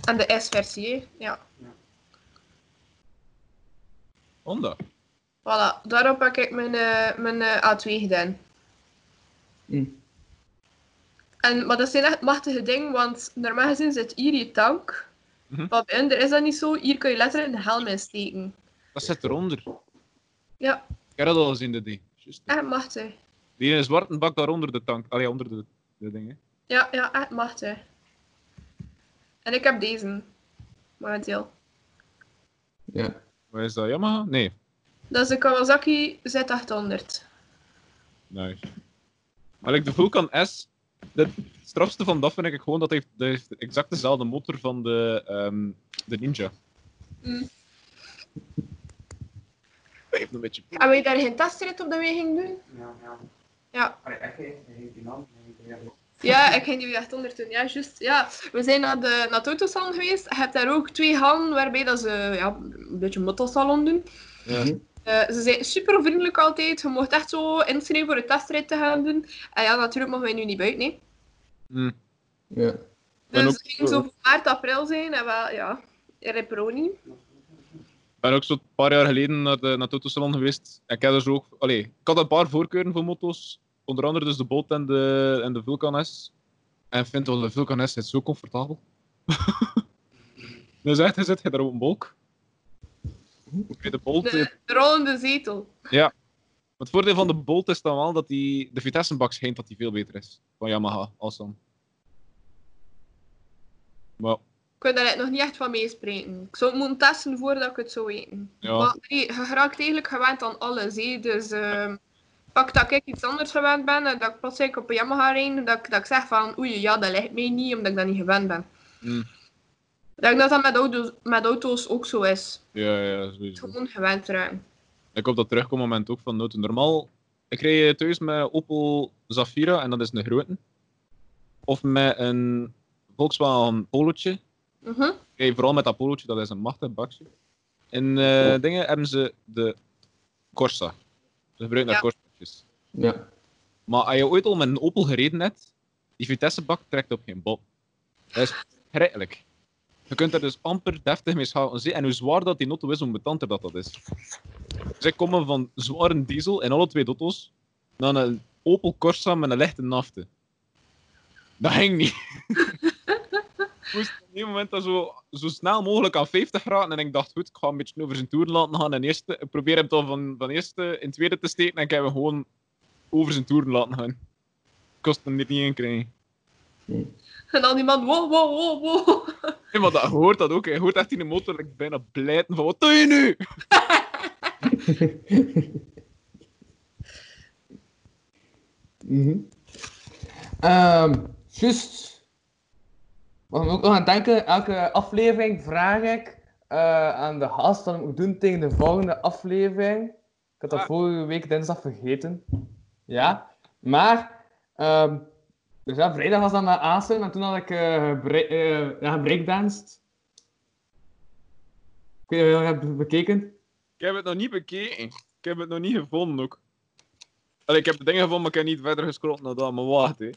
[SPEAKER 4] En de S-versie, hè? ja.
[SPEAKER 6] Ja.
[SPEAKER 5] Onda.
[SPEAKER 4] Voilà, daarop heb ik mijn, eh, mijn eh, A2 gedaan.
[SPEAKER 3] Hm.
[SPEAKER 4] En, maar dat zijn echt machtige dingen, want normaal gezien zit hier je tank.
[SPEAKER 5] Mhm.
[SPEAKER 4] Maar bij hun, er is dat niet zo. Hier kun je letterlijk een helm in steken.
[SPEAKER 5] Dat zit eronder.
[SPEAKER 4] Ja,
[SPEAKER 5] Ik heb dat al gezien, die. Juist.
[SPEAKER 4] echt machtig.
[SPEAKER 5] Die in een zwarte bak daaronder de tank. Allee, onder de, de dingen.
[SPEAKER 4] Ja, ja, echt machtig. En ik heb deze. Momenteel.
[SPEAKER 3] Ja.
[SPEAKER 5] Wat is dat? Yamaha? Nee.
[SPEAKER 4] Dat is de Kawasaki Z800.
[SPEAKER 5] Nice. Maar like, de Vulcan S, de strafste van dat vind ik gewoon dat heeft, dat heeft exact dezelfde motor van de, ehm, de Ninja.
[SPEAKER 4] Mm.
[SPEAKER 5] Hij heeft een beetje.
[SPEAKER 4] Hebben we Ah, daar geen testrit op dat wij gingen doen?
[SPEAKER 6] Ja, ja.
[SPEAKER 4] Ja.
[SPEAKER 6] Allee, echt, hè. Je geeft die naam, je geeft die naam.
[SPEAKER 4] Ja, ik ging die Z800 doen. Ja, juist. Ja, we zijn naar de naar het autosalon geweest. Je hebt daar ook twee handen waarbij dat ze ja, een beetje motorsalon doen.
[SPEAKER 3] Mhm.
[SPEAKER 4] Eh, ze zijn super vriendelijk altijd. Je mocht echt zo inschrijven voor een testrit te gaan doen. En ja, natuurlijk mogen wij nu niet buiten. Hè.
[SPEAKER 5] Mm.
[SPEAKER 3] ja.
[SPEAKER 4] Dus
[SPEAKER 5] En ook- eh,
[SPEAKER 4] het ging zo voor maart, april zijn. En wel, ja, Reproni.
[SPEAKER 5] Ik ben ook zo'n paar jaar geleden naar de naar het autosalon geweest. En ik heb er zo ook. Allee, ik had een paar voorkeuren voor motos. Onder andere dus de Bolt en de, en de Vulcan S. En ik vind wel, de Vulcan S is zo comfortabel. dus echt, je zit je daar op een bolk. Bij de Bolt. eh,
[SPEAKER 4] De, de rollende zetel.
[SPEAKER 5] Maar het voordeel van de Bolt is dan wel dat die, de vitessenbak schijnt dat die veel beter is. Van Yamaha, als dan. Maar
[SPEAKER 4] Ik kan daar eigenlijk nog niet echt van meespreken. Ik zou het moeten testen voordat ik het zou weten.
[SPEAKER 5] Ja.
[SPEAKER 4] Maar nee, je raakt eigenlijk gewend aan alles. Hè. Dus ehm pak dat ik iets anders gewend ben en dat ik plotseling op een Yamaha rijd, dat ik, dat ik zeg van oei, ja, dat ligt mij niet, omdat ik dat niet gewend ben.
[SPEAKER 5] Mm.
[SPEAKER 4] Ik denk dat dat met auto's, met auto's ook zo is.
[SPEAKER 5] ja, ja,
[SPEAKER 4] Het
[SPEAKER 5] sowieso.
[SPEAKER 4] gewoon gewend raken.
[SPEAKER 5] Ik hoop dat terugkommoment ook van noten. Normaal, ik rij thuis met Opel Zafira, en dat is een grote. Of met een Volkswagen Polootje.
[SPEAKER 4] Mhm.
[SPEAKER 5] Ik rij vooral met dat Polootje, dat is een machtig bakje. In eh, dingen hebben ze de Corsa. Ze gebruiken daar
[SPEAKER 4] Ja.
[SPEAKER 5] Corsa's.
[SPEAKER 3] Ja.
[SPEAKER 5] Maar als je ooit al met een Opel gereden hebt, die Vitessebak trekt op geen bob. Dat is schrikkelijk. Je kunt er dus amper deftig mee schakelen. Zie, En hoe zwaar dat die auto is, hoe betanter dat dat is. Zij komen van zware diesel in alle twee de auto's naar een Opel Corsa met een lichte nafte. Dat ging niet. Ik moest op die moment dat zo, zo snel mogelijk aan 50 graden. En ik dacht, goed, ik ga hem een beetje over zijn toer laten gaan. En eerste, ik probeer hem dan van, van eerste in tweede te steken. En ik heb hem gewoon over zijn toeren laten gaan. Kost hem dit niet in krijgen.
[SPEAKER 4] En dan die man, wow, wow, wow, wow.
[SPEAKER 5] Nee, maar dat, je hoort dat ook. hè. Je hoort echt in de motor like, bijna blijten van wat doe je nu?
[SPEAKER 3] Mhm. Ehm, Juist. Wat ik ook nog aan het denken, elke aflevering vraag ik eh, aan de gast wat ik moet doen tegen de volgende aflevering. Ik had dat
[SPEAKER 5] Ah.
[SPEAKER 3] vorige week dinsdag vergeten. Ja, maar... ehm, dus ja, vrijdag was dan mijn aansluiting, en toen had ik eh gebre- eh, ja, gebreakdanced. Ik weet niet of je dat hebt bekeken.
[SPEAKER 5] Ik heb het nog niet bekeken. Ik heb het nog niet gevonden ook. Allee, ik heb de dingen gevonden, maar ik heb niet verder gescrollt naar dat. Maar wacht, hè.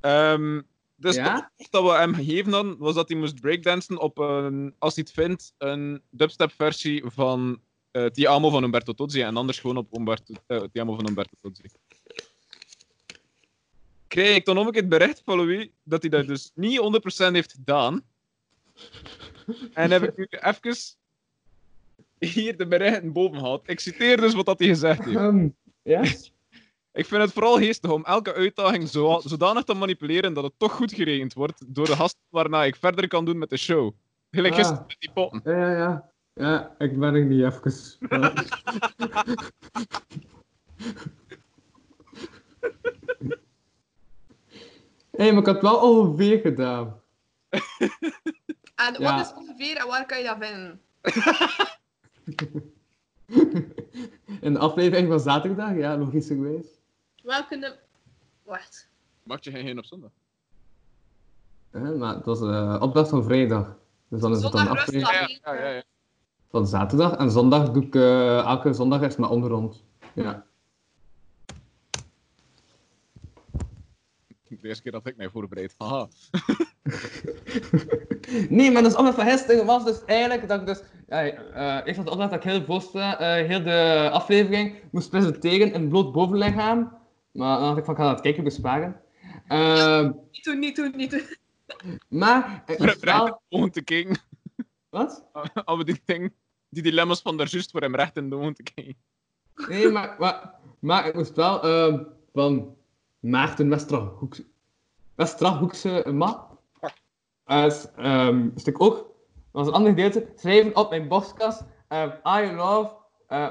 [SPEAKER 5] Ehm, dus
[SPEAKER 3] Ja?
[SPEAKER 5] het opdracht dat we hem gegeven hadden, was dat hij moest breakdansen op een, als hij het vindt, een dubstep-versie van eh Ti Amo van Umberto Tozzi. En anders gewoon op Umberto, eh, Ti Amo van Umberto Tozzi. Kreeg ik dan ook het bericht van Louis dat hij dat dus niet 100% heeft gedaan. En heb ik nu even hier de berichten boven gehad. Ik citeer dus wat dat hij gezegd heeft.
[SPEAKER 3] Ehm, ja?
[SPEAKER 5] Ik vind het vooral geestig om elke uitdaging zo, zodanig te manipuleren dat het toch goed geregend wordt door de gast waarna ik verder kan doen met de show. Gelijk
[SPEAKER 3] Ah.
[SPEAKER 5] gisteren met die potten.
[SPEAKER 3] Ja, ja, ja. Ja, ik ben er niet even. Ja. Hé, maar ik had het wel ongeveer gedaan.
[SPEAKER 4] En
[SPEAKER 3] Ja.
[SPEAKER 4] wat is ongeveer en waar kan je dat vinden?
[SPEAKER 3] In de aflevering van zaterdag, ja, logischerwijs.
[SPEAKER 4] Welke... num- Wacht.
[SPEAKER 5] Mag je geen op zondag?
[SPEAKER 3] Hè, maar het was eh opdracht van vrijdag. Dus dan is het dan de
[SPEAKER 4] Zondag
[SPEAKER 3] aflevering
[SPEAKER 4] rustdag.
[SPEAKER 5] Ja,
[SPEAKER 4] hè.
[SPEAKER 5] ja, ja. ja.
[SPEAKER 3] van zaterdag. En zondag doe ik, eh, elke zondag is mijn onderrond. Ja.
[SPEAKER 5] De eerste keer dat ik mij voorbereid. Haha.
[SPEAKER 3] Nee, maar dus op mijn vergisting was dus eigenlijk dat ik dus... Ja, eh, ik had de opdracht dat ik heel, de voorstel- eh, heel de aflevering moest presenteren in bloot bovenlichaam. Maar dan dacht ik van, ik ga dat kijken besparen. Ehm,
[SPEAKER 4] Niet doen, niet doen, niet doen.
[SPEAKER 3] maar... ik moest wel-
[SPEAKER 5] Om te kijken.
[SPEAKER 3] Wat?
[SPEAKER 5] Al die dingen. Die dilemma's van daar juist voor hem recht in de ogen te kijken.
[SPEAKER 3] Nee, maar, maar, maar ik moest wel ehm, van Maarten Westerhoekse, Westerhoekse ma. Als, ehm, stuk ook, dat was een ander gedeelte, schrijven op mijn borstkast. ehm, I love eh,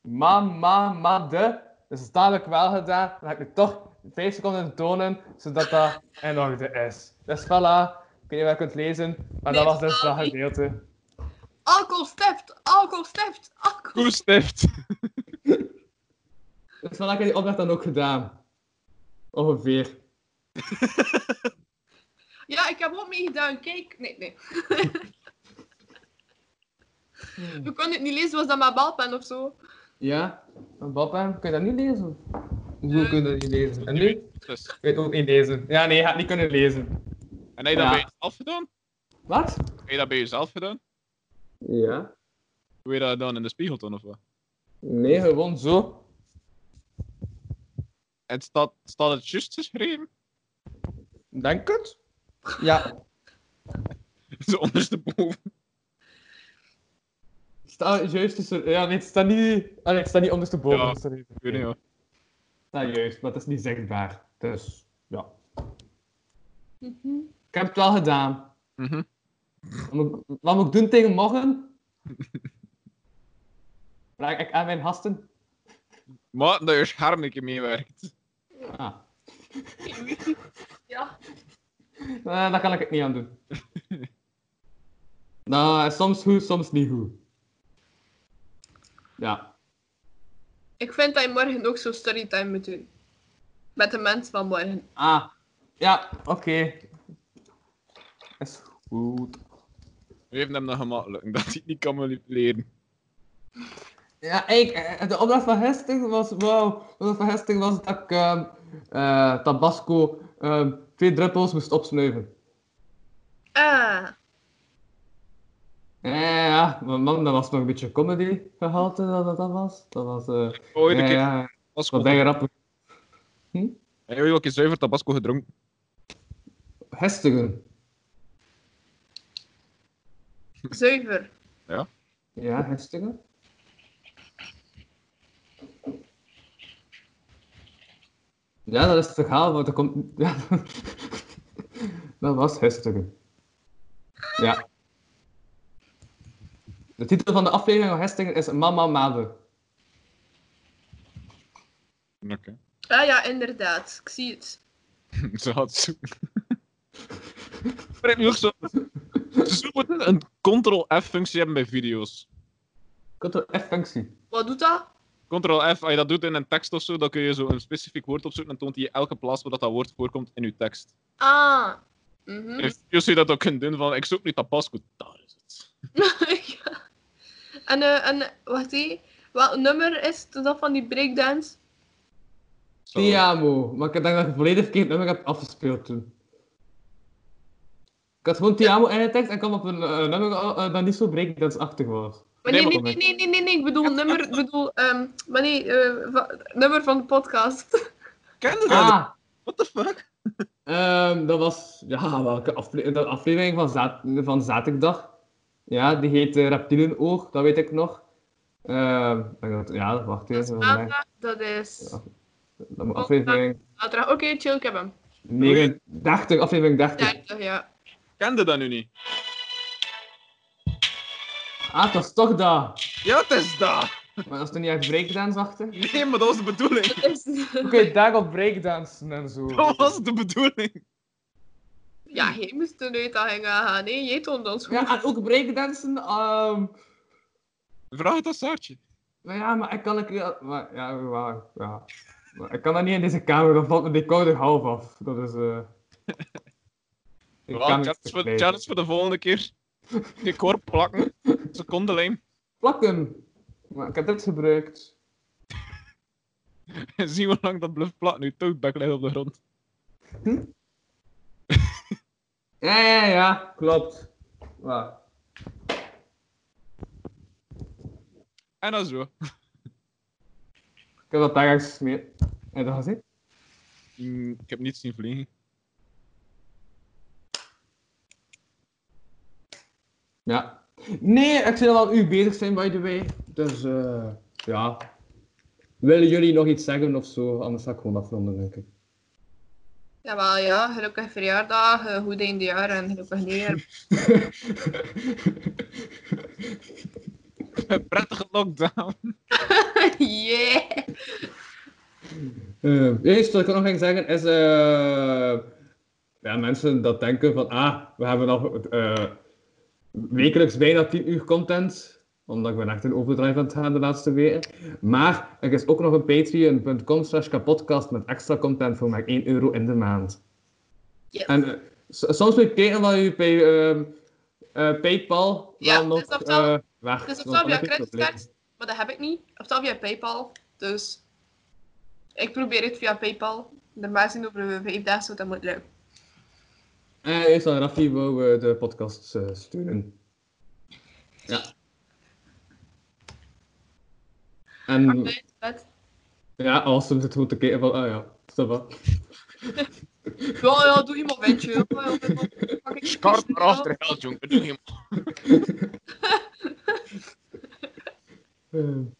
[SPEAKER 3] ma, ma, ma, de. Dus dat heb ik wel gedaan. Dan heb ik het toch vijf seconden tonen, zodat dat in orde is. Dus voilà, ik weet niet of je dat kunt lezen, maar dat
[SPEAKER 4] Nee,
[SPEAKER 3] was dus dat
[SPEAKER 4] sorry.
[SPEAKER 3] gedeelte.
[SPEAKER 4] Alcohol stept, alcohol stept, alcohol.
[SPEAKER 5] Goed stift.
[SPEAKER 3] Dus voilà, ik heb die opdracht dan ook gedaan. Ongeveer.
[SPEAKER 4] Ja, ik heb ook meegedaan. Kijk, nee, nee. We konden het niet lezen, was dat maar balpen of zo.
[SPEAKER 3] Ja, een balpen. Kun je dat niet lezen? Hoezo kun je dat niet lezen? En nu? Ik
[SPEAKER 5] Dus.
[SPEAKER 3] weet ook niet lezen. Ja, nee, je gaat niet kunnen lezen.
[SPEAKER 5] En heb je
[SPEAKER 3] Ja.
[SPEAKER 5] dat bij jezelf gedaan?
[SPEAKER 3] Wat?
[SPEAKER 5] Heb je dat bij jezelf gedaan?
[SPEAKER 3] Ja.
[SPEAKER 5] Hoe je dat gedaan in de spiegel dan of wat?
[SPEAKER 3] Nee, gewoon zo.
[SPEAKER 5] En staat, staat het juist geschreven?
[SPEAKER 3] Denk het? Ja.
[SPEAKER 5] Zo ondersteboven.
[SPEAKER 3] Sta juist tussen... Ja, nee, het staat niet... Ah, nee, het staat niet ondersteboven.
[SPEAKER 5] Ja.
[SPEAKER 3] sorry.
[SPEAKER 5] Ik weet niet hoor.
[SPEAKER 3] Het staat juist, maar het is niet zichtbaar. Dus, ja. Ik heb het wel gedaan.
[SPEAKER 5] Mhm.
[SPEAKER 3] Wat moet, ik- wat moet ik doen tegen morgen? Vraag ik aan mijn gasten.
[SPEAKER 5] Maar dat je scherm een keer meewerkt.
[SPEAKER 3] Ah.
[SPEAKER 4] Ja.
[SPEAKER 3] Eh, daar kan ik het niet aan doen. nou, soms goed, soms niet goed. Ja.
[SPEAKER 4] Ik vind dat je morgen ook zo storytime moet doen. Met de mensen van morgen.
[SPEAKER 3] Ah. Ja, oké. Is goed.
[SPEAKER 5] We hebben hem dat gemakkelijk. Dat hij het niet kan manipuleren.
[SPEAKER 3] Ja, ik, eh, de opdracht van gisteren was, wauw, de opdracht van gisteren was dat ik ehm, eh, tabasco ehm, twee druppels moest opsnuiven.
[SPEAKER 4] Ah,
[SPEAKER 3] Eh, ja, maar man, dat was nog een beetje comedy gehalte dat dat dat was. Dat was, eh,
[SPEAKER 5] Ooit een
[SPEAKER 3] ja,
[SPEAKER 5] keer
[SPEAKER 3] ja,
[SPEAKER 5] tabasco.
[SPEAKER 3] wat denk je
[SPEAKER 5] gedronken.
[SPEAKER 3] rap?
[SPEAKER 5] Heb je ooit een keer zuiver tabasco gedronken?
[SPEAKER 3] Gisteren.
[SPEAKER 4] zuiver.
[SPEAKER 3] Ja, gisteren. Ja, dat is het verhaal, want er komt... Ja, dat was gisteren. Ja. De titel van de aflevering van gisteren is Mama Made.
[SPEAKER 5] Oké.
[SPEAKER 4] Ah ja, inderdaad. Ik zie het.
[SPEAKER 5] Ze had zoeken. Maar ik heb nu ook zo. Ze moeten een Ctrl-F-functie hebben bij video's.
[SPEAKER 3] Ctrl F-functie.
[SPEAKER 4] Wat doet dat?
[SPEAKER 5] Ctrl-F, als je dat doet in een tekst of zo, dan kun je zo een specifiek woord opzoeken en toont hij je elke plaats waar dat, dat woord voorkomt in je tekst.
[SPEAKER 4] Ah. Mhm.
[SPEAKER 5] In video's zou je dat ook kunnen doen van: ik zoek nu Tabasco, daar is het.
[SPEAKER 4] ja. En, eh en wacht hé. Welk nummer is het? Is dat van die breakdance?
[SPEAKER 5] Zo.
[SPEAKER 3] Tiamo. Maar ik denk dat je volledig verkeerd nummer hebt afgespeeld toen. Ik had gewoon Tiamo in de tekst en kwam op een eh, nummer eh, dat niet zo breakdance-achtig was.
[SPEAKER 4] Maar
[SPEAKER 5] Nee,
[SPEAKER 4] nee,
[SPEAKER 5] maar
[SPEAKER 4] nee, nee, nee, nee, nee, nee, ik bedoel nummer, ik bedoel, ehm maar nee, eh, va- nummer van de podcast.
[SPEAKER 5] Ken je dat?
[SPEAKER 3] Ah!
[SPEAKER 5] What the fuck?
[SPEAKER 3] Ehm, dat was, ja, welke afle de aflevering van, za- van zaterdag. Ja, die heet eh, Reptielenoog, dat weet ik nog. Ehm, ik dacht, ja, wacht
[SPEAKER 4] dat is
[SPEAKER 3] even. Dat
[SPEAKER 4] maandag, dat is
[SPEAKER 3] Ja. moet aflevering
[SPEAKER 4] zaterdag. Oké, chill, ik heb hem.
[SPEAKER 3] 39, aflevering 30.
[SPEAKER 4] 30, ja.
[SPEAKER 5] Kende dat nu niet?
[SPEAKER 3] Ah, het was toch dat.
[SPEAKER 5] Ja, het is dat!
[SPEAKER 3] Maar dat is toen niet echt breakdance achter? Oké,
[SPEAKER 5] Nee, maar dat was de bedoeling.
[SPEAKER 4] Dat is...
[SPEAKER 3] daarop breakdansen en zo.
[SPEAKER 5] Dat was de bedoeling.
[SPEAKER 4] ja, jij moest een uitdaging aangaan, nee, jij toonde ons goed.
[SPEAKER 3] Ja, en ook breakdansen. ehm,
[SPEAKER 5] Vraag het aan Saartje.
[SPEAKER 3] maar Nou ja, maar ik kan ik, ja, maar, ja, maar, ja. Maar ik kan dat niet in deze kamer, dan valt me die koude half af. Dat is. eh die
[SPEAKER 5] Wel,
[SPEAKER 3] kamer is
[SPEAKER 5] challenge
[SPEAKER 3] te
[SPEAKER 5] voor,
[SPEAKER 3] klein.
[SPEAKER 5] challenge voor de volgende keer. Je korp plakken. Secondenlijm.
[SPEAKER 3] plakken. Maar ik heb dit gebruikt.
[SPEAKER 5] En zien hoe lang dat bluff plat nu toadback ligt op de grond.
[SPEAKER 3] Ja, ja, ja, klopt. Ja.
[SPEAKER 5] En dan zo.
[SPEAKER 3] Ik heb dat daar ergens gesmeerd. Heb je dat gezien?
[SPEAKER 5] Mm, Ik heb niets zien vliegen.
[SPEAKER 3] Ja. Nee, ik zou wel u bezig zijn, by the way. Dus, eh, ja. Willen jullie nog iets zeggen of zo? Anders ga ik gewoon afronden, denk ik.
[SPEAKER 4] Jawel, ja. Gelukkig verjaardag, eh, goed einde jaar en gelukkig nieuwjaar.
[SPEAKER 5] Prettige lockdown.
[SPEAKER 4] yeah!
[SPEAKER 3] Eh, eerst wat ik nog ging zeggen is, eh, ja, mensen dat denken van, ah, we hebben nog eh, wekelijks bijna 10 uur content, omdat ik ben echt in overdrive aan het gaan de laatste weken. Maar er is ook nog een patreon.com slash kapodcast met extra content voor maar 1 euro in de maand.
[SPEAKER 4] Yes.
[SPEAKER 3] En eh, s- soms moet je kijken wat je bij ehm, eh, Paypal
[SPEAKER 4] Ja,
[SPEAKER 3] wel nog
[SPEAKER 4] dus dat wel-
[SPEAKER 3] eh, werkt,
[SPEAKER 4] Dus
[SPEAKER 3] want
[SPEAKER 4] ofwel
[SPEAKER 3] dan
[SPEAKER 4] via
[SPEAKER 3] heb ik het probleem.
[SPEAKER 4] creditcard, maar dat heb ik niet. Ofwel via PayPal. Dus ik probeer het via PayPal. Normaal zien over vijf dagen, zo dat moet lukken.
[SPEAKER 3] Eh, eerst aan Raffi wou eh, de podcast eh, steunen. Ja. En
[SPEAKER 4] Nee, dat-
[SPEAKER 3] ja, Awesome zit goed te kijken van, ah ja, stel wel.
[SPEAKER 4] Ja, ja, doe iemand ventje. Ja, ja, ja, ja. Pak ik-
[SPEAKER 5] Kort maar achter geld, jongen. Doe hem.
[SPEAKER 3] Eh,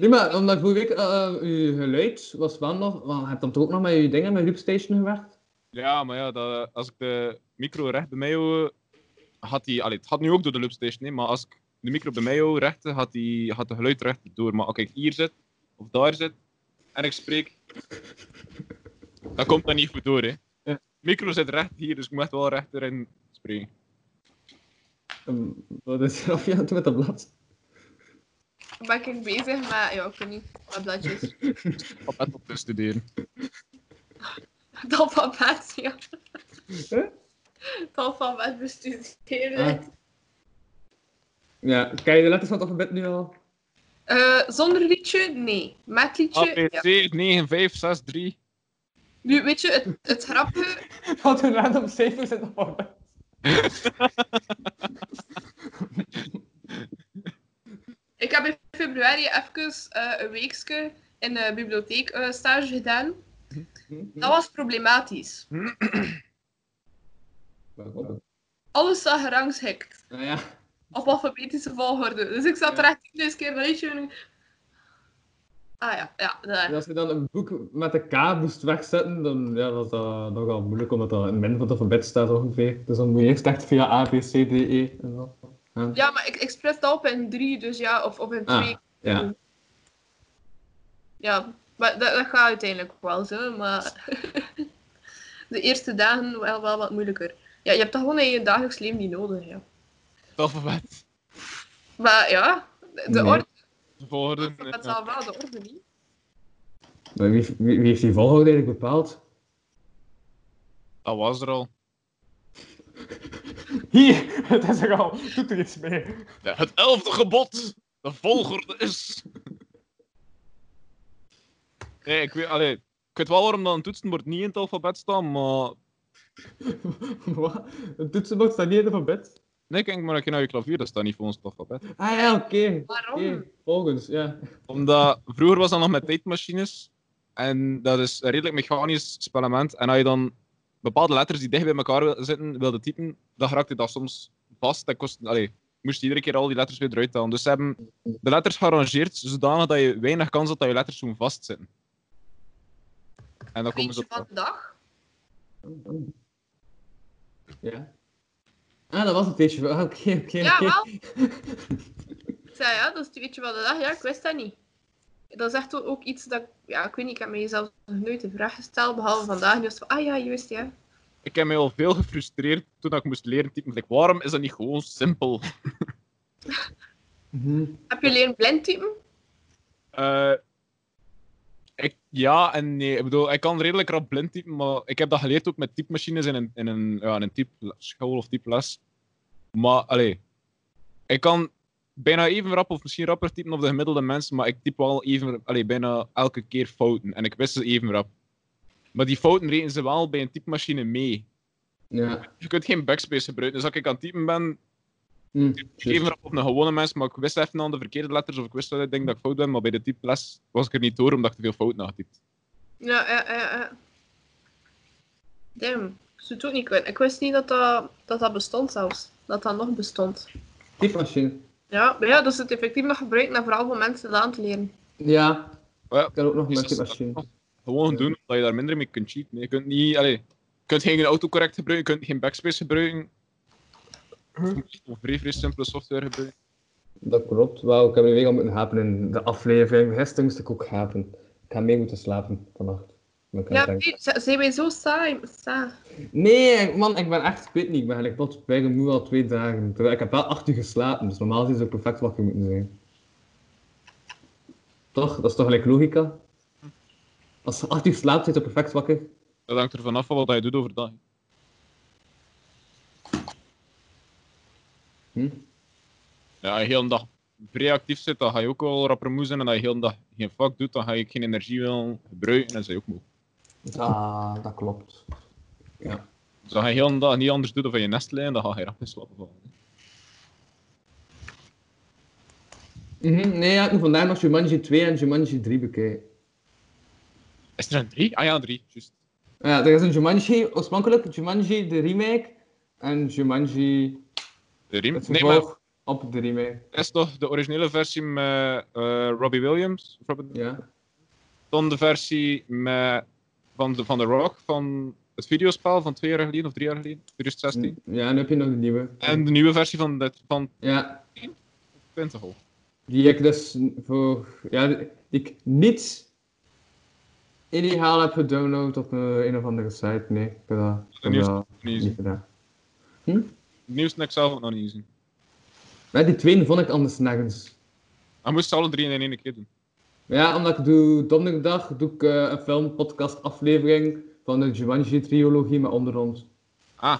[SPEAKER 3] Nee, maar omdat vorige week eh, uw geluid was wel nog, want je hebt dan toch ook nog met je dingen, met Loopstation gewerkt?
[SPEAKER 5] Ja, maar ja, dat, als ik de micro recht bij mij hou, had hij... Allee, het had nu ook door de loopstation, hè, maar als ik de micro bij mij hou recht, had, die, had de geluid recht door. Maar als ik hier zit, of daar zit, en ik spreek, dan komt dat niet goed door, hè.
[SPEAKER 3] Ja.
[SPEAKER 5] Micro zit recht hier, dus ik moet echt wel recht erin spreken.
[SPEAKER 3] Ehm, wat is Raffi aan het doen met dat blad?
[SPEAKER 4] Ben ik bezig met... Ja, ik weet niet. Wat bladjes.
[SPEAKER 5] Om echt op te studeren.
[SPEAKER 4] Het alfabet, ja.
[SPEAKER 3] Huh?
[SPEAKER 4] Het alfabet bestuderen.
[SPEAKER 3] Ah. Ja, ken je de letters van het alfabet nu al?
[SPEAKER 4] Eh, zonder liedje? Nee. Met liedje? Ja.
[SPEAKER 5] ABC 9, 5, 6, 3.
[SPEAKER 4] Nu, weet je, het, het grappige...
[SPEAKER 3] Wat een random cijfers in het alfabet.
[SPEAKER 4] Ik heb in februari even eh, een weekje in de bibliotheek eh, stage gedaan.
[SPEAKER 3] Hm?
[SPEAKER 4] Dat was problematisch.
[SPEAKER 3] Waarom?
[SPEAKER 4] Alles zag gerangschikt.
[SPEAKER 3] Nou ja.
[SPEAKER 4] Op alfabetische volgorde. Dus ik zat
[SPEAKER 3] Ja.
[SPEAKER 4] er echt 10.000 keer een liedje in. Ah ja, ja. daar.
[SPEAKER 3] En Dus als je dan een boek met de K moest wegzetten, dan ja, was dat nogal moeilijk, omdat dat in het midden van het alfabet staat ongeveer. Dus dan moet je eerst echt via A, B, C, D, E en zo. Ja.
[SPEAKER 4] Ja, maar ik, ik spreid dat op in drie, dus ja, of, of in
[SPEAKER 3] Ah,
[SPEAKER 4] twee.
[SPEAKER 3] ja.
[SPEAKER 4] Ja, maar dat, dat gaat uiteindelijk wel zo, maar de eerste dagen wel, wel wat moeilijker. Ja, je hebt dat gewoon in je dagelijks leven niet nodig, ja.
[SPEAKER 5] Het alfabet.
[SPEAKER 4] Maar ja, de de
[SPEAKER 3] Nee.
[SPEAKER 4] orde,
[SPEAKER 5] De volgorde.
[SPEAKER 4] dat
[SPEAKER 5] ja.
[SPEAKER 4] zal wel de orde niet.
[SPEAKER 3] Maar wie, wie, wie heeft die volgorde eigenlijk bepaald?
[SPEAKER 5] Dat was er al.
[SPEAKER 3] Hier, het is er al. Doet er iets mee.
[SPEAKER 5] Ja, het elfde gebod. De volgorde is. Nee, ik weet, allee, ik weet wel waarom dat een toetsenbord niet in het alfabet staat, maar.
[SPEAKER 3] Wat? Een toetsenbord staat niet in het alfabet?
[SPEAKER 5] Nee, kijk maar een keer naar je klavier, dat staat niet volgens het alfabet.
[SPEAKER 3] Ah ja, oké.
[SPEAKER 4] Waarom?
[SPEAKER 5] Hmm,
[SPEAKER 3] Oké, Volgens, ja.
[SPEAKER 5] Omdat vroeger was dat nog met tijdmachines. En dat is een redelijk mechanisch spellement. En als je dan bepaalde letters die dicht bij elkaar wil- zitten wilde typen, dan raakte dat soms vast. Dat kost, allee, moest je iedere keer al die letters weer eruit halen. Dus ze hebben de letters gearrangeerd zodanig dat je weinig kans had dat je letters zo'n vastzitten. En dan komen ze
[SPEAKER 4] Eentje
[SPEAKER 5] op.
[SPEAKER 4] van de dag.
[SPEAKER 3] Ja. Ah, dat was het feestje. van- ah, Oké, oké, oké.
[SPEAKER 4] Ja, wel. Ik zei ja, dat is het weetje van de dag. Ja, ik wist dat niet. Dat is echt ook iets dat, ik- ja, ik weet niet, ik heb mezelf nog nooit de vraag gesteld, behalve vandaag. Nu was het van, ah ja, je wist ja.
[SPEAKER 5] Ik heb mij al veel gefrustreerd toen ik moest leren typen. Like, waarom is dat niet gewoon simpel?
[SPEAKER 3] Mhm.
[SPEAKER 4] Heb je leren blind typen?
[SPEAKER 5] Eh, ik, ja en nee. Ik bedoel, ik kan redelijk rap blind typen, maar ik heb dat geleerd ook met typemachines in een, in een, ja, in een typschool of typles. Maar, allee. Ik kan bijna even rap of misschien rapper typen dan de gemiddelde mensen, maar ik typ wel even, allee, bijna elke keer fouten. En ik wist ze even rap. Maar die fouten reden ze wel bij een typemachine mee.
[SPEAKER 3] Ja.
[SPEAKER 5] Je kunt geen backspace gebruiken. Dus als ik aan het typen ben,
[SPEAKER 3] Hm,
[SPEAKER 5] geef
[SPEAKER 3] juist.
[SPEAKER 5] erop op een gewone mens, maar ik wist even aan de verkeerde letters of ik wist dat ik denk dat ik fout ben, maar bij de typles was ik er niet door omdat ik te veel fouten had getypt.
[SPEAKER 4] Ja, ja, ja, ja. Damn, ik zou het ook niet kwijt. Ik wist niet dat dat, dat dat bestond zelfs. Dat dat nog bestond.
[SPEAKER 3] Typemachine.
[SPEAKER 4] Ja, maar ja, dat ze het effectief nog gebruiken en vooral voor mensen dat aan te leren.
[SPEAKER 3] Ja,
[SPEAKER 5] Maar ja,
[SPEAKER 3] ik kan ook nog
[SPEAKER 5] Dus
[SPEAKER 3] met
[SPEAKER 5] dat is
[SPEAKER 3] typemachine.
[SPEAKER 5] toch Gewoon doen, omdat je daar minder mee kunt cheaten. Je kunt niet, allee, je kunt geen autocorrect gebruiken, je kunt geen backspace gebruiken. Je moet gewoon vrij, vrij simpele software gebruiken.
[SPEAKER 3] Dat klopt wel. Ik heb weer al moeten hapen in de aflevering. Gisteren moest ik ook hapen. Ik ga mee moeten slapen vannacht. Maar ik
[SPEAKER 4] Ja,
[SPEAKER 3] denk-
[SPEAKER 4] nee, ze- zijn wij zo saai. saai.
[SPEAKER 3] Nee, man, ik ben echt, ik weet niet, ik ben eigenlijk plots moe al twee dagen. Terwijl ik heb wel acht uur geslapen, dus normaal zou ik perfect wakker moeten zijn. Toch? Dat is toch gelijk logica? Als je acht uur slaapt, zit je perfect wakker.
[SPEAKER 5] Dat hangt er vanaf van wat je doet overdag.
[SPEAKER 3] Hm?
[SPEAKER 5] Ja, als je heel de dag vrij actief zit, dan ga je ook wel rapper moe zijn. En als je heel de dag geen vak doet, dan ga je geen energie wil gebruiken en dan ben je ook moe.
[SPEAKER 3] Ah, dat klopt.
[SPEAKER 5] Dus als je heel de dag niet anders doet dan van je nest liggen, dan ga je rap in slaap vallen.
[SPEAKER 3] Mhm, nee, ja, ik moet vandaag nog Jumanji 2 en Jumanji 3 bekijken.
[SPEAKER 5] Is er een drie? Ah ja, drie. Juist.
[SPEAKER 3] Ah Ja, er is een Jumanji, oorspronkelijk Jumanji de remake en Jumanji
[SPEAKER 5] De riem.
[SPEAKER 3] het
[SPEAKER 5] Nee, maar
[SPEAKER 3] vervolg op de remake.
[SPEAKER 5] het is toch de originele versie met eh, Robbie Williams? Of Robin-
[SPEAKER 3] Ja.
[SPEAKER 5] dan de versie met, van, de, van The Rock van het videospel van twee jaar geleden of drie jaar geleden, 2016.
[SPEAKER 3] Ja, dan heb je nog de nieuwe.
[SPEAKER 5] En de nieuwe versie van, dat, van
[SPEAKER 3] Ja,
[SPEAKER 5] Pentagon.
[SPEAKER 3] Die ik dus voor. Ja, die ik niet illegaal heb gedownload op eh, een, een of andere site. Nee, ik heb dat, ik heb
[SPEAKER 5] nieuws-
[SPEAKER 3] dat
[SPEAKER 5] Niet
[SPEAKER 3] niet
[SPEAKER 5] zien.
[SPEAKER 3] gedaan.
[SPEAKER 5] Het nieuws heb ik zelf ook nog niet gezien.
[SPEAKER 3] Maar die twee vond ik anders nergens.
[SPEAKER 5] Hij moest ze alle drie in één keer doen.
[SPEAKER 3] Ja, omdat ik doe donderdag doe ik, eh, een film, podcast, aflevering van de Jumanji-triologie met onder ons.
[SPEAKER 5] Ah,